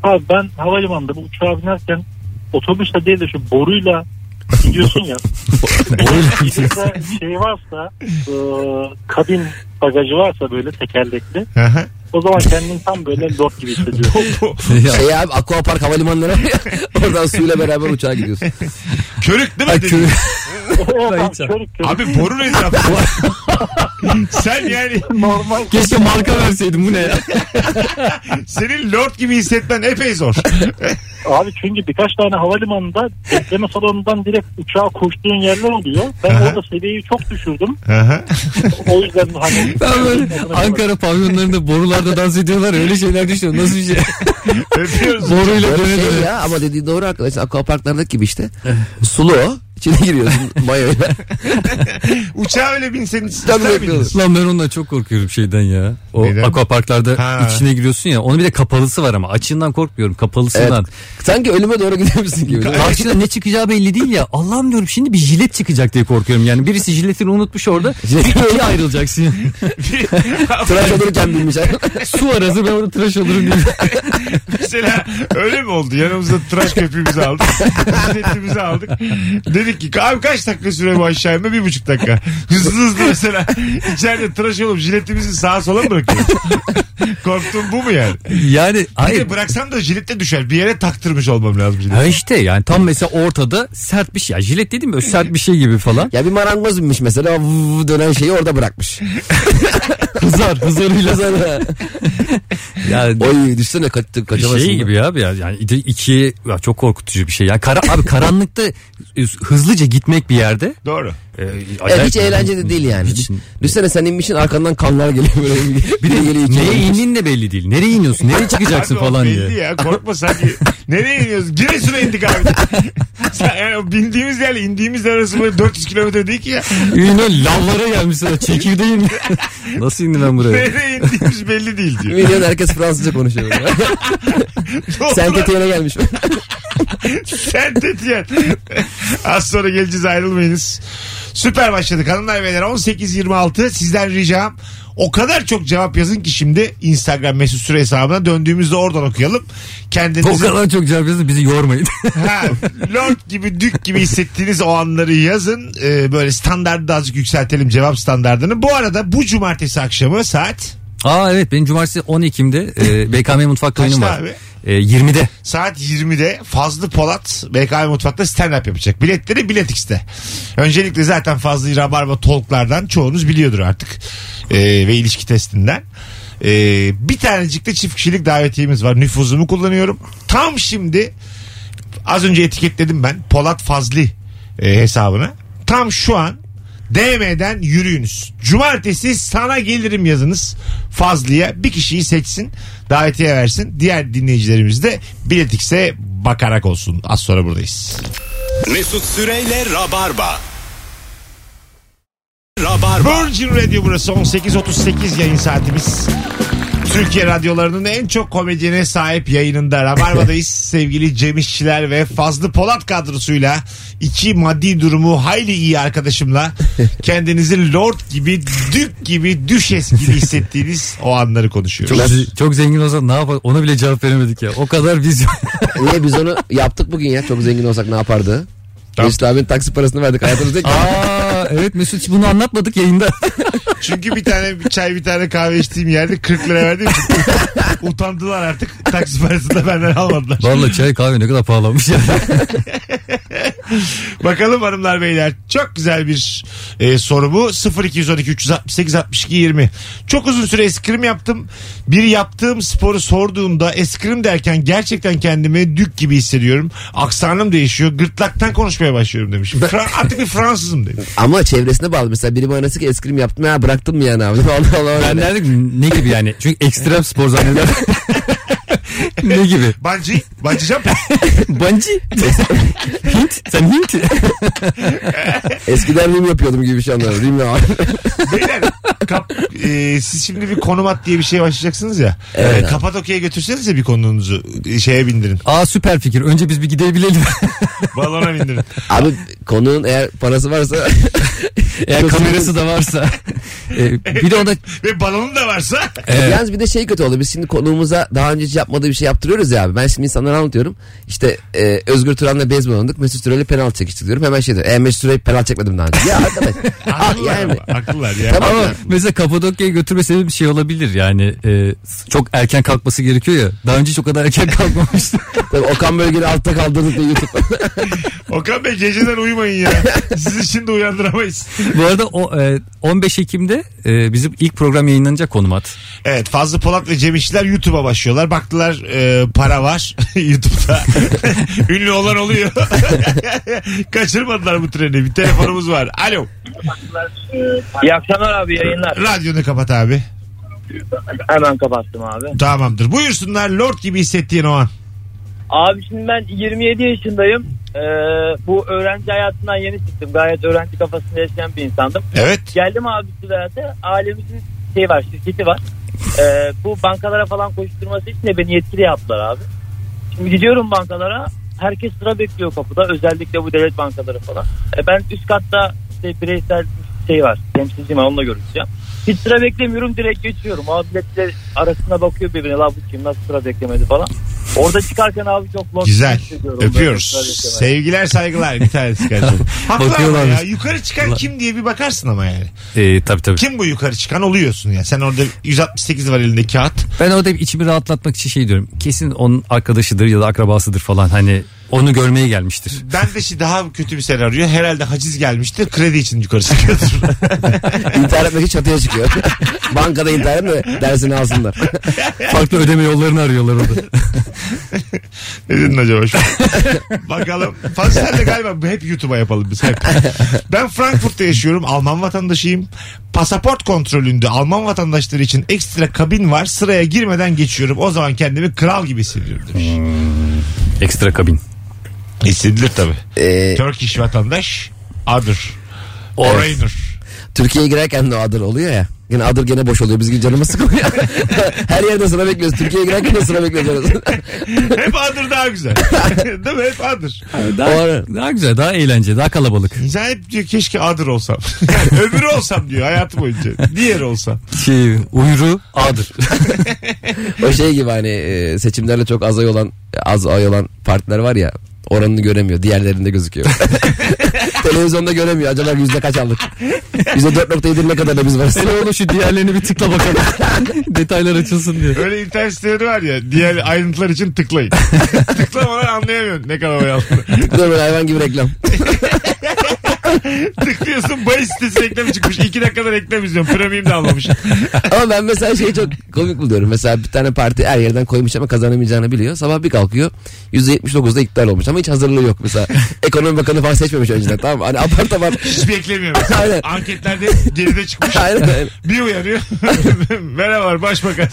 Speaker 6: Abi ben havalimanında bu uçağa binerken otobüsle değil de şu boruyla gidiyorsun ya. Birinde şey varsa e, kabin bagajı varsa böyle tekerlekli.
Speaker 2: Hı hı.
Speaker 6: O zaman kendini tam böyle lord gibi hissediyorsun.
Speaker 3: Ya,
Speaker 4: [LAUGHS] Şey abi aquapark havalimanları var ya. [LAUGHS] Oradan suyla beraber
Speaker 2: [LAUGHS]
Speaker 4: uçağa gidiyorsun.
Speaker 2: Körük değil mi?
Speaker 3: ay
Speaker 2: dedin?
Speaker 3: kö-
Speaker 6: O
Speaker 3: Ben
Speaker 6: tam
Speaker 3: hiç-
Speaker 6: körük körük.
Speaker 2: Abi borun etrafı. [LAUGHS] Sen yani
Speaker 6: Normal.
Speaker 3: Keşke marka verseydim bu ne ya.
Speaker 2: senin lord gibi hissetmen epey zor.
Speaker 6: Abi çünkü birkaç tane havalimanında bekleme salonundan direkt uçağa koştuğun yerler oluyor. Ben
Speaker 2: Aha.
Speaker 6: orada seviyeyi çok düşürdüm.
Speaker 2: Hı hı.
Speaker 6: O yüzden hani...
Speaker 3: Ben böyle Ankara pavyonlarında borularda dans ediyorlar ya, öyle şeyler düşünüyorum. Nasıl bir şey?
Speaker 2: Öpüyoruz.
Speaker 3: Boruyla
Speaker 4: Böyle
Speaker 3: döne
Speaker 4: şey
Speaker 3: döne.
Speaker 4: ya ama dediği doğru arkadaşlar. Aquaparklardaki gibi işte. Sulu o. İçine
Speaker 2: [LAUGHS]
Speaker 4: giriyorsun mayoyla.
Speaker 2: Uçağa öyle binseniz
Speaker 4: Tabii
Speaker 2: ister miydiniz?
Speaker 3: Lan ben ondan çok korkuyorum şeyden ya. O
Speaker 2: Neden?
Speaker 3: akvaparklarda
Speaker 2: Ha.
Speaker 3: içine giriyorsun ya. Onun bir de kapalısı var ama. Açığından korkmuyorum. Kapalısından.
Speaker 4: Sanki ölüme doğru gidiyormuşsun gibi.
Speaker 3: Karşıda ne çıkacağı belli değil ya. Allah'ım diyorum şimdi bir jilet çıkacak diye korkuyorum. Yani birisi jiletini unutmuş
Speaker 4: [LAUGHS]
Speaker 3: orada.
Speaker 2: [LAUGHS]
Speaker 3: İkiye ayrılacaksın.
Speaker 4: Tıraş olurken binmiş.
Speaker 3: [LAUGHS] Su arası ben orada tıraş olurum diye.
Speaker 2: Mesela öyle mi oldu? Yanımızda tıraş köpüğümüzü aldık. Setimizi aldık. Dedik ki abi kaç dakika süre bu aşağı inme? Bir buçuk dakika. Hızlı hızlı mesela içeride tıraş olup jiletimizi sağa sola mı bırakıyoruz? Korktuğum bu mu yani?
Speaker 3: Yani
Speaker 2: Bir
Speaker 3: hayır.
Speaker 2: de bıraksam da jilet de düşer. Bir yere taktırmış olmam lazım jilet.
Speaker 3: Ha işte yani tam mesela ortada sert bir şey. Ya jilet dedim
Speaker 4: [LAUGHS]
Speaker 3: böyle sert bir şey gibi falan.
Speaker 4: Ya bir marangoz binmiş mesela vuv, dönen şeyi orada bırakmış.
Speaker 3: Hızar, [LAUGHS] hızarıyla.
Speaker 4: Kızana.
Speaker 3: Yani
Speaker 4: Oy düşsene kaçtı kaçamazsın.
Speaker 3: şey gibi ya abi ya yani ide- ikiye ya çok korkutucu bir şey. Ya kara, abi karanlıkta e, hızlıca gitmek bir yerde.
Speaker 2: Doğru.
Speaker 3: e,
Speaker 4: Evet,
Speaker 3: acayip-
Speaker 4: hiç eğlenceli değil yani.
Speaker 3: Hiç.
Speaker 4: Düşsene sen inmişsin arkandan kanlar geliyor böyle. Bir de geliyor içeri.
Speaker 3: Neye indiğin de belli değil. Nereye iniyorsun? Nereye çıkacaksın [LAUGHS]
Speaker 2: Abi o
Speaker 3: falan
Speaker 2: belli
Speaker 3: diye.
Speaker 2: ya korkma sanki. Nereye iniyoruz? Giresun'a indik abi. Sen- yani o bindiğimiz yerle indiğimiz yer arası böyle 400 kilometre değil ki ya.
Speaker 3: Ünlü lavlara gelmişsin. [LAUGHS] Çekirdeğin. Nasıl indi ben buraya? [LAUGHS]
Speaker 2: Nereye indiğimiz belli değil diyor.
Speaker 4: Milyon herkes Fransızca konuşuyor. sen
Speaker 2: Sen
Speaker 4: tetiğine gelmiş.
Speaker 2: Sen tetiyen. Az sonra geleceğiz ayrılmayınız. Süper başladık hanımlar beyler 18.26 sizden ricam o kadar çok cevap yazın ki şimdi Instagram mesut süre hesabına döndüğümüzde oradan okuyalım.
Speaker 3: O
Speaker 2: Kendinizi
Speaker 3: kadar çok cevap yazdı bizi [LAUGHS] yormayın.
Speaker 2: Ha, Lord gibi dük gibi hissettiğiniz o anları yazın. Ee, böyle standartı da azıcık yükseltelim cevap standartını. Bu arada bu cumartesi akşamı saat
Speaker 3: Aa evet benim cumartesi 10 Ekim'de e, BKM mutfakta oyunum
Speaker 2: Kaçta
Speaker 3: var.
Speaker 2: abi?
Speaker 3: E, 20'de.
Speaker 2: saat 20'de Fazlı Polat BKM Mutfak'ta stand up yapacak. Biletleri Bilet X'te. Öncelikle zaten Fazlı Rabarba Talk'lardan çoğunuz biliyordur artık. Ee, ve ilişki testinden. Ee, bir tanecik de çift kişilik davetiyemiz var. Nüfuzumu kullanıyorum. Tam şimdi az önce etiketledim ben Polat Fazli e, hesabına. Tam şu an DM'den yürüyünüz. Cumartesi sana gelirim yazınız. Fazlı'ya bir kişiyi seçsin. Davetiye versin. Diğer dinleyicilerimiz de biletikse bakarak olsun. Az sonra buradayız.
Speaker 1: Mesut Süreyle Rabarba. Rabarba.
Speaker 2: Virgin Radio burası 18.38 yayın saatimiz. Türkiye radyolarının en çok komedyene sahip yayınında Rabarba'dayız. Sevgili Cem İşçiler ve Fazlı Polat kadrosuyla iki maddi durumu hayli iyi arkadaşımla kendinizi lord gibi, dük gibi, düşes gibi hissettiğiniz o anları konuşuyoruz.
Speaker 3: Çok, çok zengin olsa ne yapar? Ona bile cevap veremedik ya. O kadar biz
Speaker 4: Niye biz onu yaptık bugün ya. Çok zengin olsak ne yapardı?
Speaker 2: Tamam.
Speaker 4: Mesut abinin taksi parasını verdik. Hayatımızda ilk-
Speaker 3: [LAUGHS] [LAUGHS] Aa evet Mesut hiç bunu anlatmadık yayında.
Speaker 2: Çünkü bir tane bir çay bir tane kahve içtiğim yerde 40 lira verdim. Utandılar artık. Taksi parasını da benden almadılar.
Speaker 3: [LAUGHS] Vallahi çay kahve ne kadar pahalanmış ya.
Speaker 2: Bakalım hanımlar beyler çok güzel bir e, soru bu 0212 368 62 20 çok uzun süre eskrim yaptım bir yaptığım sporu sorduğumda eskrim derken gerçekten kendimi dük gibi hissediyorum aksanım değişiyor gırtlaktan konuşmaya başlıyorum demiş Fra- artık bir Fransızım demiş
Speaker 4: Ama çevresine bağlı. Mesela biri bana nasıl ki eskrim yaptım ya bıraktım mı yani abi? [LAUGHS] Allah Allah.
Speaker 3: ben
Speaker 4: öyle.
Speaker 3: derdim ki, ne gibi yani? Çünkü ekstrem spor zanneder. [LAUGHS] ne gibi?
Speaker 2: Bancı, bancı jump.
Speaker 3: Banci. Hint. Sen Hint.
Speaker 4: Eskiden rim yapıyordum gibi bir şey anladım. Rim ya.
Speaker 3: [LAUGHS]
Speaker 2: Beyler, kap- e, siz şimdi bir konum at diye bir şey başlayacaksınız ya.
Speaker 4: Evet.
Speaker 2: E, Kapadokya'ya götürseniz ya bir konunuzu e, şeye bindirin.
Speaker 3: Aa süper fikir. Önce biz bir [LAUGHS] gidebilelim.
Speaker 2: Balona bindirin.
Speaker 4: abi konunun eğer parası varsa [LAUGHS]
Speaker 3: Eğer kamerası da [LAUGHS] varsa. Ee, bir de o da
Speaker 2: Ve balonun da varsa
Speaker 3: Evet.
Speaker 4: Yalnız bir de şey kötü oldu. Biz şimdi konuğumuza daha önce hiç yapmadığı bir şey yaptırıyoruz ya abi. Ben şimdi insanlara anlatıyorum. İşte e, Özgür Turan'la beyzbol oynadık. Mesut Süreyle penaltı çekiştik diyorum. Hemen şey diyor. E, Mesut Süreyle penaltı çekmedim daha önce. Ya arkadaş. [LAUGHS] ah,
Speaker 2: haklılar.
Speaker 4: [LAUGHS] yani.
Speaker 2: ama, haklılar yani.
Speaker 4: Tamam.
Speaker 3: Ama mesela Kapadokya'ya götürme sebebi bir şey olabilir yani e, çok erken kalkması gerekiyor ya. Daha önce hiç o kadar erken [LAUGHS] kalkmamıştı.
Speaker 4: Tabii Okan Bölge'yi altta kaldırdık diye YouTube. [LAUGHS]
Speaker 2: Okan Bey geceden uyumayın ya. Sizi şimdi uyandıramayız.
Speaker 3: Bu arada o e, 15 Ekim'de e, bizim ilk program yayınlanacak konumat.
Speaker 2: Evet Fazlı Polat ve Cem İşçiler YouTube'a başlıyorlar. Baktılar e, para var [LAUGHS] YouTube'da. Ünlü olan oluyor. [LAUGHS] Kaçırmadılar bu treni. Bir telefonumuz var. Alo.
Speaker 7: İyi akşamlar abi yayınlar.
Speaker 2: Radyonu kapat abi.
Speaker 7: Hemen kapattım abi.
Speaker 2: Tamamdır. Buyursunlar Lord gibi hissettiğin o an.
Speaker 7: Abi şimdi ben 27 yaşındayım. Ee, bu öğrenci hayatından yeni çıktım. Gayet öğrenci kafasında yaşayan bir insandım.
Speaker 2: Evet.
Speaker 7: Geldim abi Üsküdar'da. Ailemizin şey var, şirketi var. Ee, bu bankalara falan koşturması için de beni yetkili yaptılar abi. Şimdi gidiyorum bankalara. Herkes sıra bekliyor kapıda. Özellikle bu devlet bankaları falan. E ben üst katta işte bireysel şey var. Temsilcim var onunla görüşeceğim. Hiç sıra beklemiyorum direkt geçiyorum. Abi milletler arasına bakıyor birbirine. La bu kim nasıl sıra beklemedi falan. Orada çıkarken abi çok lost
Speaker 2: Güzel.
Speaker 7: hissediyorum. Böyle
Speaker 2: Öpüyoruz.
Speaker 7: sıra beklemeden.
Speaker 2: Sevgiler saygılar. Bir tanesi kardeşim. Haklı ama
Speaker 3: Bakıyorlarmış.
Speaker 2: ya. Yukarı çıkan kim diye bir bakarsın ama yani.
Speaker 3: E, tabii tabii.
Speaker 2: Kim bu yukarı çıkan oluyorsun ya. Sen orada 168 var elinde kağıt.
Speaker 3: Ben orada içimi rahatlatmak için şey diyorum. Kesin onun arkadaşıdır ya da akrabasıdır falan hani Onu görmeye gelmiştir.
Speaker 2: Ben de şimdi daha kötü bir senaryo. Herhalde haciz gelmiştir. Kredi için yukarı çıkıyordur. [LAUGHS]
Speaker 4: İntihar etmek için çatıya çıkıyor. [LAUGHS] Bankada intihar etme dersini alsınlar.
Speaker 3: Farklı ödeme yollarını arıyorlar orada.
Speaker 2: ne dedin acaba şu an? Bakalım. Fazla sen de galiba bu hep YouTube'a yapalım biz hep. Ben Frankfurt'ta yaşıyorum. Alman vatandaşıyım. Pasaport kontrolünde Alman vatandaşları için ekstra kabin var. Sıraya girmeden geçiyorum. O zaman kendimi kral gibi hissediyorum demiş.
Speaker 3: [LAUGHS] Ekstra kabin.
Speaker 2: Hissedilir tabii.
Speaker 4: Ee,
Speaker 2: Turkish vatandaş Adır. Oraynur.
Speaker 4: Türkiye'ye girerken de o adır oluyor ya. Yine adır gene boş oluyor. Biz gibi canımız sıkılıyor. [LAUGHS] Her yerde sıra bekliyoruz. Türkiye'ye girerken de sıra bekliyoruz. [LAUGHS]
Speaker 2: Hep Adır daha güzel. [LAUGHS] Değil mi? Hep Adır.
Speaker 4: O ara-
Speaker 3: Daha güzel, daha eğlence, daha kalabalık.
Speaker 2: İnsan hep diyor keşke Adır olsam. [LAUGHS] Yani öbürü olsam diyor hayatı boyunca. Diğer olsam.
Speaker 3: Şey, uyru, adır.
Speaker 4: o şey gibi hani e, seçimlerle çok az ay olan az ay olan partiler var ya oranını göremiyor.
Speaker 3: [LAUGHS]
Speaker 4: Diğerlerinde gözüküyor. Televizyonda göremiyor. Acaba yüzde kaç aldık? Yüzde 4.7 ne kadar da biz varız?
Speaker 3: Hele oğlum şu diğerlerini bir tıkla
Speaker 4: [LAUGHS]
Speaker 3: bakalım. [LAUGHS] Detaylar açılsın diye.
Speaker 2: Öyle internet siteleri var ya diğer ayrıntılar için tıklayın. [LAUGHS] Tıklamadan anlayamıyorsun ne kadar oyalı.
Speaker 4: Dur böyle hayvan gibi reklam.
Speaker 2: Tıklıyorsun bahis sitesi reklam çıkmış. İki dakikadan reklam izliyorum. Premium de almamışım.
Speaker 4: Ama ben mesela şeyi çok komik buluyorum. Mesela bir tane parti her yerden koymuş ama kazanamayacağını biliyor. Sabah bir kalkıyor %79'da iptal olmuş ama hiç hazırlığı yok
Speaker 3: [LAUGHS]
Speaker 4: mesela. Ekonomi Bakanı falan seçmemiş önceden tamam mı? Hani apar topar.
Speaker 2: Hiç beklemiyorum.
Speaker 4: Aynen.
Speaker 2: şey Anketlerde geride çıkmış.
Speaker 4: Aynen.
Speaker 2: Bir uyanıyor. [LAUGHS] Merhabalar başbakan.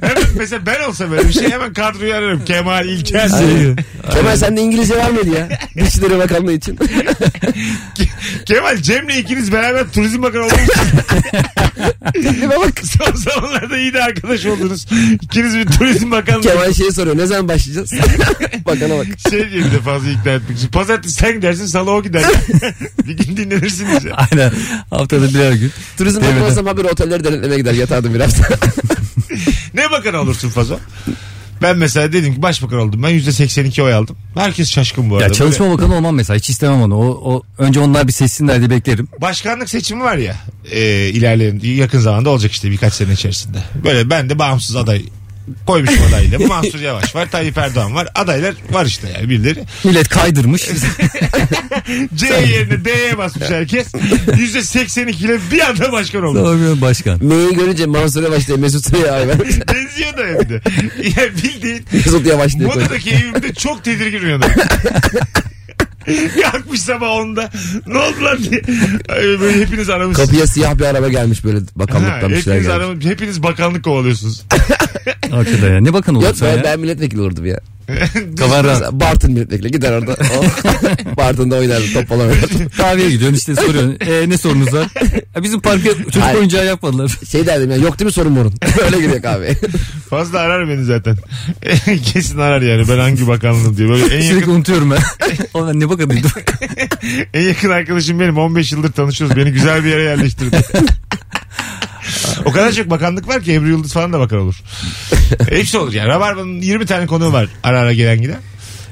Speaker 2: hemen mesela ben olsam böyle bir şey hemen kadroyu ararım. Kemal İlker.
Speaker 4: Kemal sende İngilizce var mıydı
Speaker 3: [LAUGHS]
Speaker 4: ya? Dışişleri Bakanlığı için.
Speaker 2: Ke- Kemal Cem'le ikiniz beraber turizm bakanı olmuşsunuz.
Speaker 4: Tiplime bak.
Speaker 2: Son zamanlarda iyi de arkadaş oldunuz. İkiniz bir turizm bakanı.
Speaker 4: Kemal şeyi soruyor. Ne zaman başlayacağız? Bakana bak.
Speaker 2: Şey diye bir de fazla ikna etmek için. Pazartesi sen gidersin salı o
Speaker 3: [LAUGHS]
Speaker 2: gider. bir gün dinlenirsiniz ya.
Speaker 3: [LAUGHS] Aynen. Haftada birer gün.
Speaker 4: Turizm
Speaker 3: Değil mi?
Speaker 4: bakanı olsam haberi otelleri denetlemeye gider. Yatardım biraz.
Speaker 2: Ne bakan olursun fazla? Ben mesela dedim ki başbakan oldum. Ben %82 oy aldım. Herkes şaşkın bu arada.
Speaker 3: Ya çalışma bakanı olmam mesela. Hiç istemem onu. O, o önce onlar bir seçsinler diye beklerim.
Speaker 2: Böyle başkanlık seçimi var ya. E, ilerleyen yakın zamanda olacak işte birkaç sene içerisinde. Böyle ben de bağımsız aday koymuşum
Speaker 3: [LAUGHS]
Speaker 2: adayla. Mansur Yavaş var, Tayyip Erdoğan var. Adaylar var işte yani birileri.
Speaker 3: [LAUGHS] Millet
Speaker 4: [LAUGHS]
Speaker 3: kaydırmış.
Speaker 2: C yerine D'ye basmış herkes. %82 ile bir anda başkan olmuş.
Speaker 3: Doğru [LAUGHS] başkan.
Speaker 4: M'yi görünce Mansur Yavaş diye Mesut Süreyya ay vermiş.
Speaker 2: Benziyor da hem de. Yani bildiğin
Speaker 4: [LAUGHS] Mesut Yavaş diye koydu.
Speaker 2: Moda'daki evimde çok tedirgin uyandım. Kalkmış sabah onda. Ne oldu lan diye. Ay, Böyle hepiniz aramışsınız.
Speaker 4: Kapıya siyah bir araba gelmiş böyle
Speaker 2: Ha,
Speaker 4: bakanlıktan bir şeyler
Speaker 2: hepiniz,
Speaker 4: gelmiş.
Speaker 2: aramış, hepiniz bakanlık kovalıyorsunuz.
Speaker 3: Hakikaten ya. Ne bakan
Speaker 4: Yok
Speaker 3: olursa
Speaker 4: ben,
Speaker 3: ya.
Speaker 4: ben milletvekili olurdum ya.
Speaker 3: Kafan rahat.
Speaker 4: Mesela Bartın milletvekili gider orada. O- [LAUGHS] Bartın'da oynardı top falan oynardı.
Speaker 3: Kahveye gidiyorsun işte [LAUGHS] soruyorsun. E, ne sorunuz var? Ya bizim parka çocuk
Speaker 4: Hayır.
Speaker 3: oyuncağı yapmadılar.
Speaker 4: Şey derdim ya yok değil mi sorun morun. [LAUGHS] Öyle giriyor kahveye.
Speaker 2: Fazla arar beni zaten. [LAUGHS] Kesin arar yani ben hangi bakanlığım diye. Böyle en
Speaker 3: Sürekli
Speaker 2: yakın,
Speaker 3: unutuyorum [LAUGHS] ben. Oğlum ben ne bakanıydım.
Speaker 2: en yakın arkadaşım benim. 15 yıldır tanışıyoruz. Beni güzel bir yere
Speaker 4: [LAUGHS]
Speaker 2: yerleştirdi. o kadar çok bakanlık var ki Ebru Yıldız falan da bakan olur.
Speaker 4: [LAUGHS]
Speaker 2: Hepsi olur yani. Rabarba'nın 20 tane konuğu var ara ara gelen giden.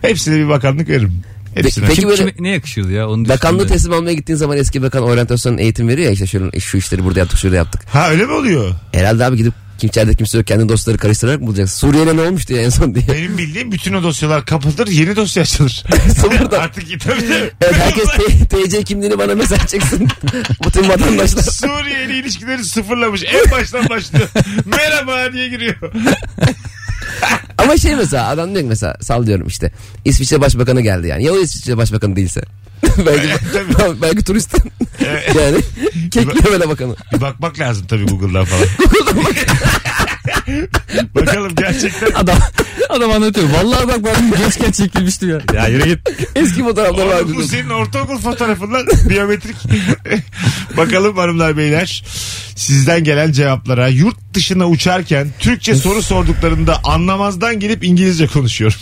Speaker 2: Hepsine bir bakanlık veririm. Hepsine.
Speaker 4: peki-
Speaker 3: Kim,
Speaker 4: böyle-
Speaker 3: kime- ne yakışıyordu ya? Onu
Speaker 4: Bakanlığı
Speaker 3: düşündüm de.
Speaker 4: teslim almaya gittiğin zaman eski bakan oryantasyon eğitim veriyor ya işte şöyle, şu işleri burada yaptık şurada yaptık.
Speaker 2: Ha öyle mi oluyor?
Speaker 4: Herhalde abi gidip kimçerde kimse yok kendi dostları karıştırarak mı bulacaksın? Suriye'de ne olmuştu ya en
Speaker 3: [LAUGHS]
Speaker 4: son diye.
Speaker 2: Benim bildiğim bütün o dosyalar kapatılır yeni dosya
Speaker 4: [LAUGHS]
Speaker 2: açılır.
Speaker 4: Sıfırdan.
Speaker 2: Artık tabii tabii.
Speaker 4: Evet herkes
Speaker 2: [LAUGHS]
Speaker 4: T- TC kimliğini bana mesaj çeksin.
Speaker 3: [LAUGHS]
Speaker 4: Bütün vatandaşlar.
Speaker 2: Suriye ile ilişkileri sıfırlamış. En baştan
Speaker 4: [LAUGHS]
Speaker 2: başlıyor. Merhaba diye giriyor.
Speaker 4: Ama şey mesela adam diyor ki mesela sallıyorum işte İsviçre Başbakanı geldi yani. Ya o İsviçre Başbakanı değilse. [LAUGHS] belki,
Speaker 2: tabii.
Speaker 4: [LAUGHS] belki turist. yani
Speaker 3: [LAUGHS]
Speaker 4: keklemele bakanı.
Speaker 2: [LAUGHS] Bir bakmak lazım tabii Google'dan falan. [LAUGHS] Bakalım gerçekten.
Speaker 3: Adam, adam anlatıyor. Vallahi bak ben gençken çekilmiştim ya.
Speaker 2: Ya yürü git.
Speaker 4: Eski fotoğraflar var.
Speaker 2: Oğlum bu senin ortaokul fotoğrafın lan. Biyometrik. Bakalım hanımlar beyler. Sizden gelen cevaplara yurt dışına uçarken Türkçe soru sorduklarında anlamazdan gelip İngilizce konuşuyorum.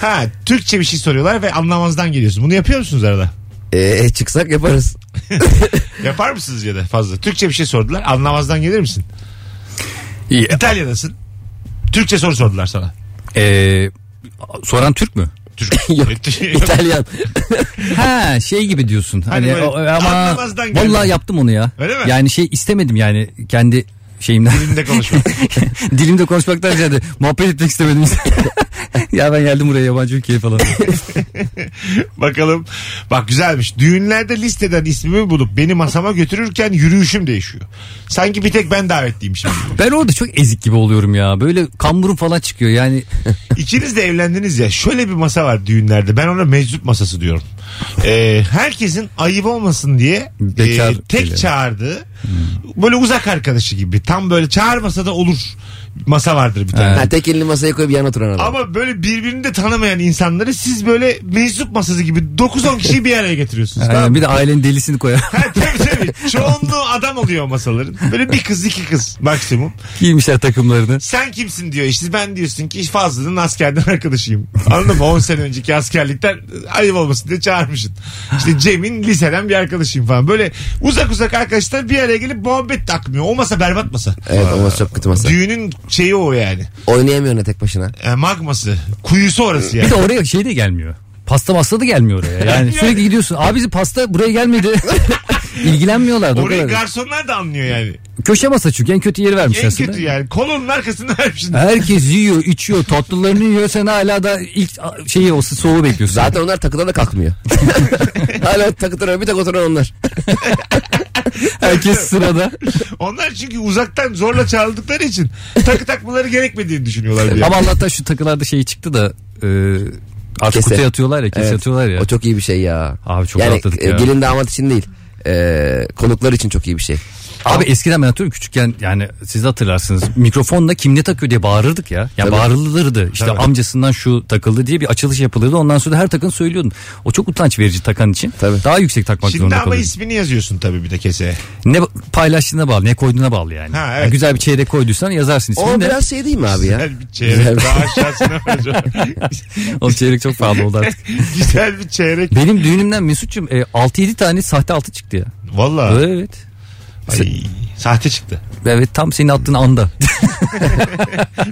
Speaker 2: Ha Türkçe bir şey soruyorlar ve anlamazdan geliyorsun. Bunu yapıyor musunuz arada?
Speaker 4: [LAUGHS] Ee, çıksak yaparız.
Speaker 2: Yapar mısınız ya da fazla? Türkçe bir şey sordular. Anlamazdan gelir misin?
Speaker 3: İyi.
Speaker 2: İtalya'dasın. Türkçe soru sordular sana.
Speaker 3: Ee, soran Türk mü?
Speaker 2: Türk.
Speaker 4: Yok.
Speaker 2: [LAUGHS]
Speaker 4: İtalyan.
Speaker 3: Ha şey gibi diyorsun. Hani,
Speaker 2: Hani böyle
Speaker 3: o- ama
Speaker 2: anlamazdan geldi.
Speaker 3: vallahi yaptım onu ya.
Speaker 2: Öyle mi?
Speaker 3: Yani şey istemedim yani kendi şeyimden.
Speaker 2: Dilimde konuşma.
Speaker 3: [LAUGHS] Dilimde konuşmaktan ziyade muhabbet
Speaker 2: [LAUGHS]
Speaker 3: etmek istemedim. ya ben geldim buraya yabancı ülkeye falan.
Speaker 2: Bakalım. Bak güzelmiş. Düğünlerde listeden ismimi bulup beni masama götürürken yürüyüşüm değişiyor. Sanki bir tek ben davetliymişim.
Speaker 3: ben orada çok ezik gibi oluyorum ya. Böyle kamburum falan
Speaker 2: [LAUGHS]
Speaker 3: çıkıyor yani.
Speaker 2: İkiniz de evlendiniz ya. Şöyle bir masa var düğünlerde. Ben ona meczup masası diyorum. Ee, herkesin ayıp olmasın diye e,
Speaker 3: Bekar
Speaker 2: tek
Speaker 3: geliyor.
Speaker 2: çağırdığı böyle uzak arkadaşı gibi. Tam böyle çağırmasa da olur masa vardır bir tane.
Speaker 4: Ha, tek elini masaya koyup yan oturan adam.
Speaker 2: Ama böyle birbirini de tanımayan insanları siz böyle meczup masası gibi 9-10 kişiyi bir araya getiriyorsunuz. tamam
Speaker 3: Aynen,
Speaker 2: mı?
Speaker 3: e, bir de ailenin delisini koyar. [LAUGHS]
Speaker 2: Ha, [LAUGHS] tabii tabii. Çoğunluğu adam oluyor o masaların. Böyle bir kız iki kız maksimum.
Speaker 3: Giymişler takımlarını.
Speaker 2: Sen kimsin diyor işte ben diyorsun ki Fazlı'nın askerden arkadaşıyım. Anladın mı? 10 sene önceki askerlikten ayıp olmasın diye çağırmışsın. İşte Cem'in liseden bir arkadaşıyım falan. Böyle uzak uzak arkadaşlar bir araya gelip muhabbet takmıyor. O masa berbat masa.
Speaker 4: Evet o masa çok kötü masa.
Speaker 2: Düğünün şeyi o yani.
Speaker 4: Oynayamıyor ne tek başına.
Speaker 2: E, magması. Kuyusu orası
Speaker 3: Bir [LAUGHS]
Speaker 2: yani.
Speaker 3: de oraya şey de gelmiyor. Pasta masta da gelmiyor oraya.
Speaker 2: [LAUGHS]
Speaker 3: Yani sürekli gidiyorsun. Abi bizim pasta buraya gelmedi. İlgilenmiyorlar. da o
Speaker 2: Orayı
Speaker 3: kadar.
Speaker 2: garsonlar da anlıyor yani.
Speaker 3: Köşe masa çünkü en kötü yeri vermiş
Speaker 2: En
Speaker 3: aslında.
Speaker 2: kötü yani. Kolonun arkasında şey. vermişsin.
Speaker 3: Herkes yiyor, içiyor, tatlılarını yiyor. Sen hala da ilk şeyi o soğuğu bekliyorsun.
Speaker 4: Zaten onlar takıdan
Speaker 3: [LAUGHS]
Speaker 4: da kalkmıyor. [LAUGHS] Hala takıdan bir tek oturan onlar. [LAUGHS]
Speaker 3: herkes sırada.
Speaker 4: Şey
Speaker 2: Onlar çünkü uzaktan zorla çağrıldıkları için takı takmaları gerekmediğini düşünüyorlar. Bir
Speaker 3: Ama Allah'tan şu takılarda şey çıktı da e, artık
Speaker 4: Kese.
Speaker 3: kutuya atıyorlar ya, kese
Speaker 4: Evet.
Speaker 3: atıyorlar ya.
Speaker 4: O çok iyi bir şey ya.
Speaker 3: Abi çok
Speaker 4: yani
Speaker 3: rahatladık
Speaker 4: e,
Speaker 3: ya.
Speaker 4: gelin damat için değil. E, konuklar için çok iyi bir şey.
Speaker 3: Abi eskiden ben hatırlıyorum küçükken yani siz de hatırlarsınız mikrofonla kim ne takıyor diye bağırırdık ya. Yani
Speaker 4: Tabii.
Speaker 3: bağırılırdı işte amcasından şu takıldı diye bir açılış yapılırdı ondan sonra her takın söylüyordun. O çok utanç verici takan için
Speaker 4: Tabii.
Speaker 3: daha yüksek takmak
Speaker 2: Şimdi
Speaker 3: zorunda
Speaker 2: ama
Speaker 3: kalıyordun.
Speaker 2: ismini yazıyorsun tabii bir de keseye.
Speaker 3: Ne ba- paylaştığına bağlı ne koyduğuna bağlı yani.
Speaker 2: Ha, evet.
Speaker 3: Yani güzel bir çeyrek koyduysan yazarsın
Speaker 4: O
Speaker 3: ismini de.
Speaker 4: biraz şey değil mi abi ya?
Speaker 2: Güzel bir çeyrek. Daha aşağısına
Speaker 3: [LAUGHS]
Speaker 2: vereceğim.
Speaker 3: O çeyrek çok pahalı oldu
Speaker 2: [LAUGHS]
Speaker 3: artık.
Speaker 2: Güzel bir çeyrek.
Speaker 3: Benim düğünümden Mesut'cum e, 6-7 tane sahte altı çıktı ya.
Speaker 2: Valla.
Speaker 3: Evet.
Speaker 2: Ay, Sahte çıktı.
Speaker 3: Evet tam senin
Speaker 2: [LAUGHS]
Speaker 3: attığın anda.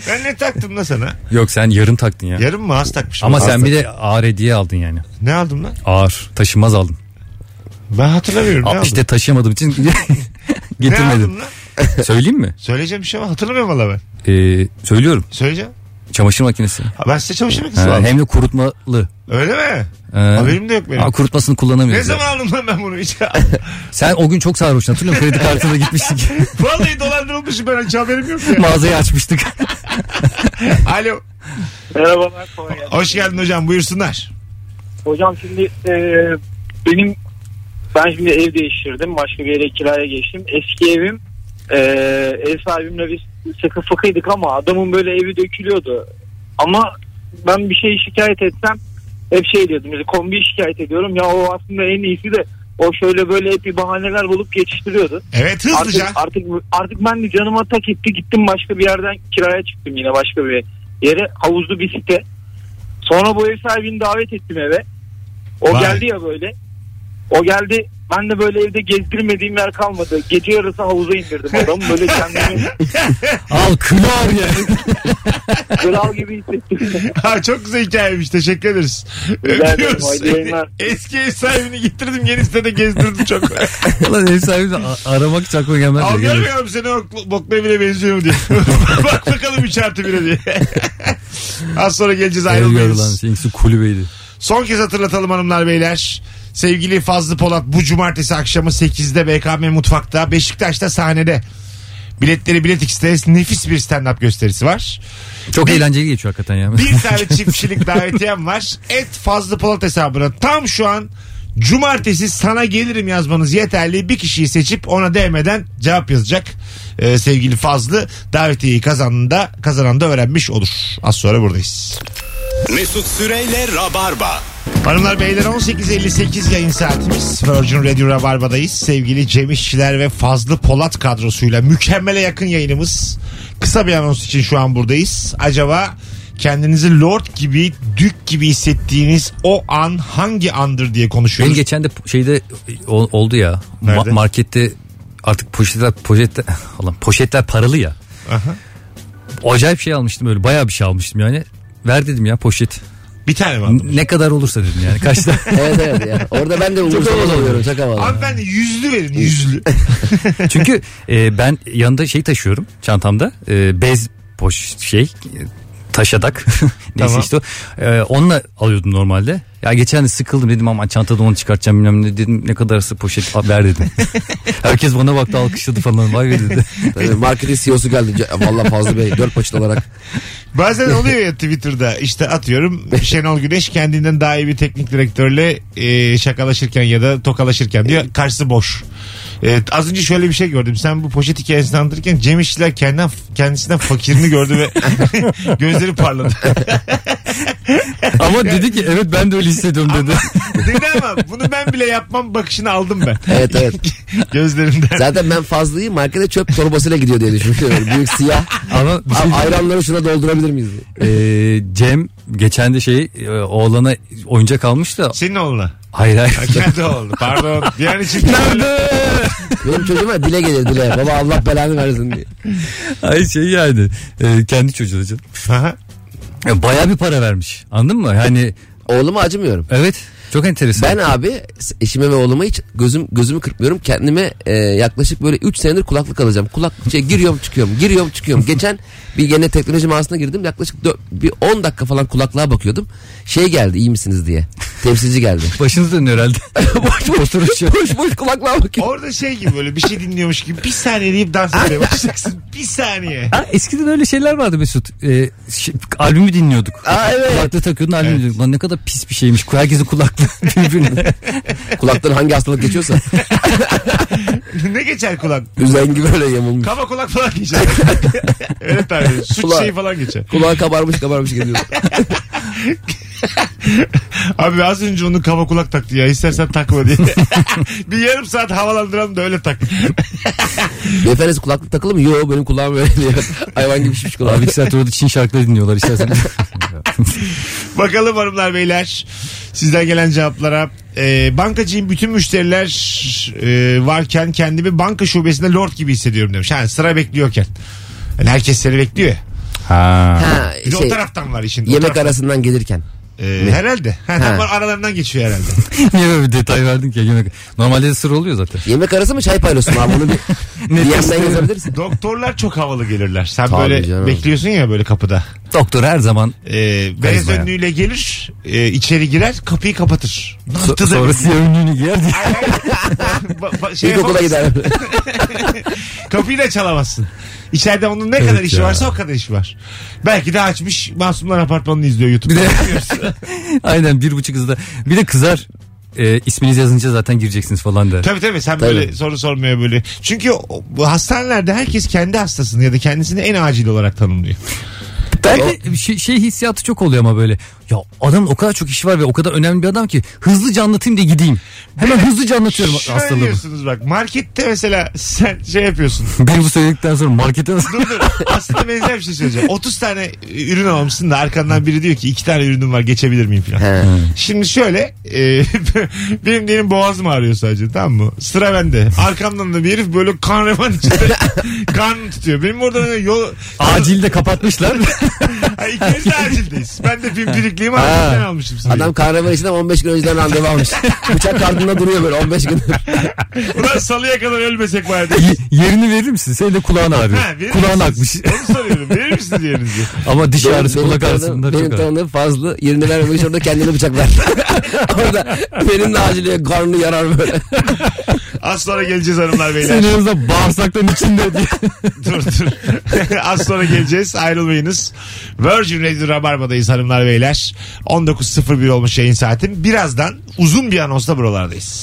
Speaker 2: Ben ne taktım da sana?
Speaker 3: Yok sen yarım taktın ya.
Speaker 2: Yarım mı az takmışım?
Speaker 3: Ama
Speaker 2: Az
Speaker 3: sen
Speaker 2: tak-
Speaker 3: bir de ağır hediye aldın yani.
Speaker 2: Ne aldım lan?
Speaker 3: Ağır taşınmaz aldın.
Speaker 2: Ben hatırlamıyorum.
Speaker 3: Aa,
Speaker 2: ne
Speaker 3: işte
Speaker 2: aldım?
Speaker 3: taşıyamadığım için
Speaker 2: [LAUGHS]
Speaker 3: [LAUGHS]
Speaker 2: Ne
Speaker 3: getirmedim.
Speaker 2: aldım lan?
Speaker 3: Söyleyeyim mi?
Speaker 2: Söyleyeceğim bir şey ama hatırlamıyorum valla ben.
Speaker 3: Ee, söylüyorum.
Speaker 2: Söyleyeceğim.
Speaker 3: Çamaşır makinesi.
Speaker 2: Ha, Ben size çalışma kızı
Speaker 3: Ha,
Speaker 2: aldım.
Speaker 3: hem de kurutmalı.
Speaker 2: Öyle mi?
Speaker 3: Ee,
Speaker 2: Haberim de yok benim.
Speaker 3: Aa, kurutmasını
Speaker 2: ne
Speaker 3: kullanamıyoruz. ya.
Speaker 2: zaman aldım lan ben bunu hiç? [LAUGHS]
Speaker 3: Sen o gün çok sarhoştun hatırlıyor musun? Kredi
Speaker 2: [LAUGHS]
Speaker 3: kartına gitmiştik.
Speaker 2: Vallahi dolandırılmışım ben hiç haberim yok ya.
Speaker 3: Mağazayı açmıştık.
Speaker 2: Alo.
Speaker 6: Merhabalar. kolay gelsin.
Speaker 2: Hoş geldin hocam buyursunlar.
Speaker 6: Hocam şimdi e, benim ben şimdi ev değiştirdim. Başka bir yere kiraya geçtim. Eski evim e, ev sahibimle biz sıkı fıkıydık ama adamın böyle evi dökülüyordu. Ama ben bir şey şikayet etsem hep şey diyordum. Mesela kombiyi şikayet ediyorum. Ya o aslında en iyisi de o şöyle böyle hep bir bahaneler bulup geçiştiriyordu.
Speaker 2: Evet
Speaker 6: Artık,
Speaker 2: hızlıca.
Speaker 6: artık, artık ben de canıma tak etti. Gittim başka bir yerden kiraya çıktım yine başka bir yere. Havuzlu bir site. Sonra bu ev sahibini davet ettim eve. O
Speaker 2: Vay.
Speaker 6: geldi ya böyle. O geldi. Ben de böyle evde gezdirmediğim yer kalmadı. Gece yarısı havuza indirdim adamı.
Speaker 2: [LAUGHS]
Speaker 6: Böyle kendimi
Speaker 3: Al kılar ya.
Speaker 6: kral gibi hissettim.
Speaker 2: [LAUGHS] Ha, çok güzel hikayeymiş. Teşekkür ederiz.
Speaker 6: ederim,
Speaker 2: Öpüyoruz.
Speaker 6: haydi yayınlar.
Speaker 2: [LAUGHS] Eski ev sahibini getirdim. Yeni sitede gezdirdim
Speaker 6: [LAUGHS]
Speaker 2: çok.
Speaker 3: [LAUGHS] Ulan ev sahibi de a- aramak hiç aklıma gelmez. de.
Speaker 2: Al görmüyorum seni ok- bokla bile benziyor mu diye. [LAUGHS] Bak bakalım 3 artı 1'e diye. [LAUGHS] Az sonra geleceğiz
Speaker 3: Ev görülen
Speaker 2: ayrılmayız.
Speaker 3: şeyin ikisi kulübeydi.
Speaker 2: Son kez hatırlatalım hanımlar beyler. Sevgili Fazlı Polat bu cumartesi akşamı 8'de BKM Mutfak'ta Beşiktaş'ta sahnede. Biletleri Bilet X'te nefis bir stand-up gösterisi var.
Speaker 3: Çok eğlenceli geçiyor hakikaten ya.
Speaker 2: Bir tane çift kişilik davetiyem var. Et Fazlı Polat hesabına tam şu an Cumartesi sana gelirim yazmanız yeterli. Bir kişiyi seçip ona DM'den cevap yazacak Ee, sevgili Fazlı. Davetiyeyi kazanan da, kazanan da öğrenmiş olur. Az sonra buradayız.
Speaker 1: Mesut Süreyle Rabarba.
Speaker 2: Hanımlar beyler 18.58 yayın saatimiz. Virgin Radio Rabarba'dayız. Sevgili Cem İşçiler ve Fazlı Polat kadrosuyla mükemmele yakın yayınımız. Kısa bir anons için şu an buradayız. Acaba kendinizi lord gibi, dük gibi hissettiğiniz o an hangi andır diye
Speaker 3: Benim
Speaker 2: konuşuyoruz.
Speaker 3: geçen de şeyde o- oldu ya. Ma-
Speaker 2: Nerede?
Speaker 3: markette artık poşetler poşetler [LAUGHS] Allah'ım, poşetler paralı ya.
Speaker 2: Aha.
Speaker 3: Acayip şey almıştım öyle bayağı bir şey almıştım yani. Ver dedim ya poşet.
Speaker 2: Bir tane mi aldın?
Speaker 3: Ne kadar olursa dedim yani.
Speaker 2: [LAUGHS]
Speaker 3: Kaçta?
Speaker 4: evet evet ya. Orada ben de umursamaz
Speaker 3: havalı
Speaker 4: oluyorum. Çok havalı.
Speaker 2: Hanımefendi yüzlü verin yüzlü.
Speaker 3: Çünkü e, ben yanında şey taşıyorum çantamda. E, bez boş şey e, taşadak. [LAUGHS] Neyse
Speaker 2: Tamam.
Speaker 3: işte o. E, onunla alıyordum normalde. Ya geçen de sıkıldım dedim ama çantada onu çıkartacağım bilmem ne dedim ne kadarsa poşet al- ver [LAUGHS] dedim. Herkes bana baktı alkışladı falan vay be [LAUGHS] dedi.
Speaker 4: Tabii marketin CEO'su geldi. "Ya Vallahi Fazlı Bey dört poşet olarak.
Speaker 2: Bazen oluyor ya Twitter'da işte atıyorum Şenol Güneş kendinden daha iyi bir teknik direktörle e, şakalaşırken ya da tokalaşırken diyor karşısı boş. E, az önce şöyle bir şey gördüm. Sen bu poşet hikayesini anlatırken Cem İşçiler kendinden, kendisinden fakirini gördü ve [LAUGHS] gözleri parladı. [LAUGHS]
Speaker 3: ama dedi ki evet ben de öyle hissediyorum dedi.
Speaker 2: Dedi ama bunu ben bile yapmam bakışını aldım ben.
Speaker 4: Evet
Speaker 2: [LAUGHS]
Speaker 4: evet.
Speaker 2: Gözlerinden.
Speaker 4: Zaten ben Fazlı'yı markete çöp torbasıyla gidiyor diye düşünüyorum. Büyük siyah.
Speaker 3: ama bir şey
Speaker 4: Abi ayranları şuna doldurabilir miyiz? diye.
Speaker 3: Ee, Cem geçen de şey e, oğlana oyuncak almış da
Speaker 2: Senin oğluna.
Speaker 3: hayır Şey- hayır.
Speaker 2: Ha,
Speaker 3: [LAUGHS]
Speaker 2: Kendi oğlu. Pardon. Yani şimdi
Speaker 4: Benim çocuğuma dile gelir dile. Baba Allah belanı versin diye.
Speaker 3: Ay şey yani e, kendi çocuğu canım.
Speaker 2: Aha.
Speaker 3: Ya Bayağı bir para vermiş anladın mı? Yani
Speaker 4: Oğluma acımıyorum.
Speaker 3: evet çok enteresan.
Speaker 4: Ben abi eşime ve oğluma hiç gözüm gözümü kırpmıyorum. Kendime e, yaklaşık böyle 3 senedir kulaklık alacağım. Kulak şey, giriyorum çıkıyorum, giriyorum çıkıyorum. Geçen bir gene teknoloji mağazasına girdim. Yaklaşık dö- bir 10 dakika falan kulaklığa bakıyordum. Şey geldi, iyi misiniz diye. Temsilci [LAUGHS] geldi.
Speaker 3: Başınız dönüyor herhalde. [LAUGHS] boş Oturuş yok.
Speaker 4: boş boş kulaklığa bakıyorum.
Speaker 2: Orada şey gibi böyle bir şey dinliyormuş gibi bir saniye deyip dans etmeye başlayacaksın. Bir saniye.
Speaker 3: Ha, eskiden öyle şeyler vardı Mesut. Ee, şey, albümü dinliyorduk.
Speaker 4: Aa, evet.
Speaker 3: Kulaklığı takıyordun albümü dinliyorduk. Lan ne kadar pis bir şeymiş. Herkesin kulaklığı [LAUGHS] birbirine.
Speaker 4: Kulaktan hangi hastalık geçiyorsa
Speaker 2: [LAUGHS] ne geçer kulak?
Speaker 4: üzengi böyle yamulmuş.
Speaker 2: Kaba kulak falan geçer. [LAUGHS] Öyle tahmin ediyorum. Suç
Speaker 4: Kulak.
Speaker 2: şeyi falan geçer.
Speaker 4: Kulağı kabarmış kabarmış geliyor.
Speaker 2: Abi az önce onu kaba kulak taktı ya. İstersen takma diye. [LAUGHS] bir yarım saat havalandıralım da öyle tak.
Speaker 4: Beyefendi kulaklık takılı mı? Yo benim kulağım böyle diyor. [LAUGHS] Hayvan gibi şişmiş kulağım.
Speaker 3: Abi iki saat orada Çin şarkıları dinliyorlar istersen.
Speaker 2: Bakalım hanımlar beyler. Sizden gelen cevaplara. Ee, bankacıyım bütün müşteriler e, varken kendimi banka şubesinde lord gibi hissediyorum demiş. Yani sıra bekliyorken. Yani herkes seni bekliyor ya.
Speaker 3: ha.
Speaker 4: Ha,
Speaker 2: Bir de o
Speaker 4: şey,
Speaker 2: taraftan var işin. O
Speaker 4: yemek
Speaker 2: taraftan.
Speaker 4: arasından gelirken.
Speaker 2: Ee, herhalde. Ha, tam
Speaker 4: Ha.
Speaker 2: aralarından geçiyor
Speaker 4: [LAUGHS]
Speaker 2: herhalde.
Speaker 3: Niye böyle bir detay verdin ki? Yemek- Normalde de sıra oluyor zaten.
Speaker 4: Yemek arası mı çay paylaşsın abi
Speaker 3: [LAUGHS]
Speaker 4: bunu bir DM'den yazabilirsin.
Speaker 2: Doktorlar çok havalı gelirler. Sen
Speaker 4: Tabii
Speaker 2: böyle
Speaker 4: canım.
Speaker 2: bekliyorsun ya böyle kapıda.
Speaker 3: Doktor her zaman
Speaker 2: Ee, beyaz
Speaker 3: Karizma ya.
Speaker 2: önlüğüyle gelir, e, içeri girer, kapıyı kapatır.
Speaker 3: so-
Speaker 2: Nasıl [LAUGHS]
Speaker 3: sonra siyah önlüğünü giyer diye. [LAUGHS]
Speaker 2: şey
Speaker 4: İlkokula
Speaker 2: yapamazsın.
Speaker 4: gider.
Speaker 2: Kapıyı da çalamazsın. İçeride onun ne kadar işi
Speaker 3: ya.
Speaker 2: varsa o kadar işi var. Belki de açmış Masumlar Apartmanı'nı izliyor YouTube'da. Bilmiyoruz.
Speaker 3: Aynen bir buçuk hızda. Bir de kızar. E, isminiz yazınca zaten gireceksiniz falan der.
Speaker 2: tabii tabii sen böyle soru sormaya böyle. Çünkü o- bu hastanelerde herkes kendi hastasını ya da kendisini en acil olarak tanımlıyor.
Speaker 3: Ben de şey, şey hissiyatı çok oluyor ama böyle. Ya adamın o kadar çok işi var ve o kadar önemli bir adam ki hızlıca anlatayım da gideyim. Hemen hızlıca anlatıyorum
Speaker 2: Şöyle
Speaker 3: hastalığımı. [LAUGHS]
Speaker 2: diyorsunuz bak markette mesela sen şey yapıyorsun.
Speaker 3: Beni bu söyledikten sonra markete nasıl?
Speaker 2: Dur dur. Aslında benzer bir şey söyleyeceğim. 30 tane e, ürün almışsın da arkandan biri diyor ki 2 tane ürünüm var geçebilir miyim falan.
Speaker 4: He.
Speaker 2: Şimdi şöyle e, [LAUGHS] benim diyelim boğazım ağrıyor sadece tamam mı? Sıra bende. Arkamdan da bir herif böyle kan revan
Speaker 4: [LAUGHS]
Speaker 2: içinde kan tutuyor. Benim orada böyle yol...
Speaker 3: Acilde kapatmışlar. [LAUGHS]
Speaker 2: Ha, İkimiz de acildeyiz. Ben de pimpirikliyim arkamdan almışım sırayı.
Speaker 4: Adam kahraman içinden 15 gün önceden randevu
Speaker 3: [LAUGHS]
Speaker 4: almış. Bıçak kartında duruyor böyle 15 gün.
Speaker 2: Ulan salıya kadar ölmesek bari.
Speaker 3: Y- yerini verir misin? Senin de kulağın
Speaker 2: Ha,
Speaker 3: ağrıyor.
Speaker 2: verir
Speaker 3: Kulağın akmış. [LAUGHS]
Speaker 2: misiniz? Onu soruyorum. Verir misiniz yerinizi?
Speaker 3: Ama diş ağrısı, kulak ağrısı
Speaker 4: tanıdığım,
Speaker 3: bunlar çok
Speaker 4: benim
Speaker 3: ağır.
Speaker 4: tanıdığım fazla yerini vermemiş orada
Speaker 3: [LAUGHS]
Speaker 4: kendini bıçaklar. [LAUGHS] orada benim de aciliye karnı yarar böyle.
Speaker 2: Az sonra geleceğiz hanımlar beyler.
Speaker 3: Senin en azından bağırsakların içinde diye.
Speaker 2: [LAUGHS] dur dur. Az sonra geleceğiz. Ayrılmayınız. Virgin Radio Rabarba'dayız hanımlar beyler. 19.01 olmuş yayın saatim. Birazdan uzun bir anonsla buralardayız.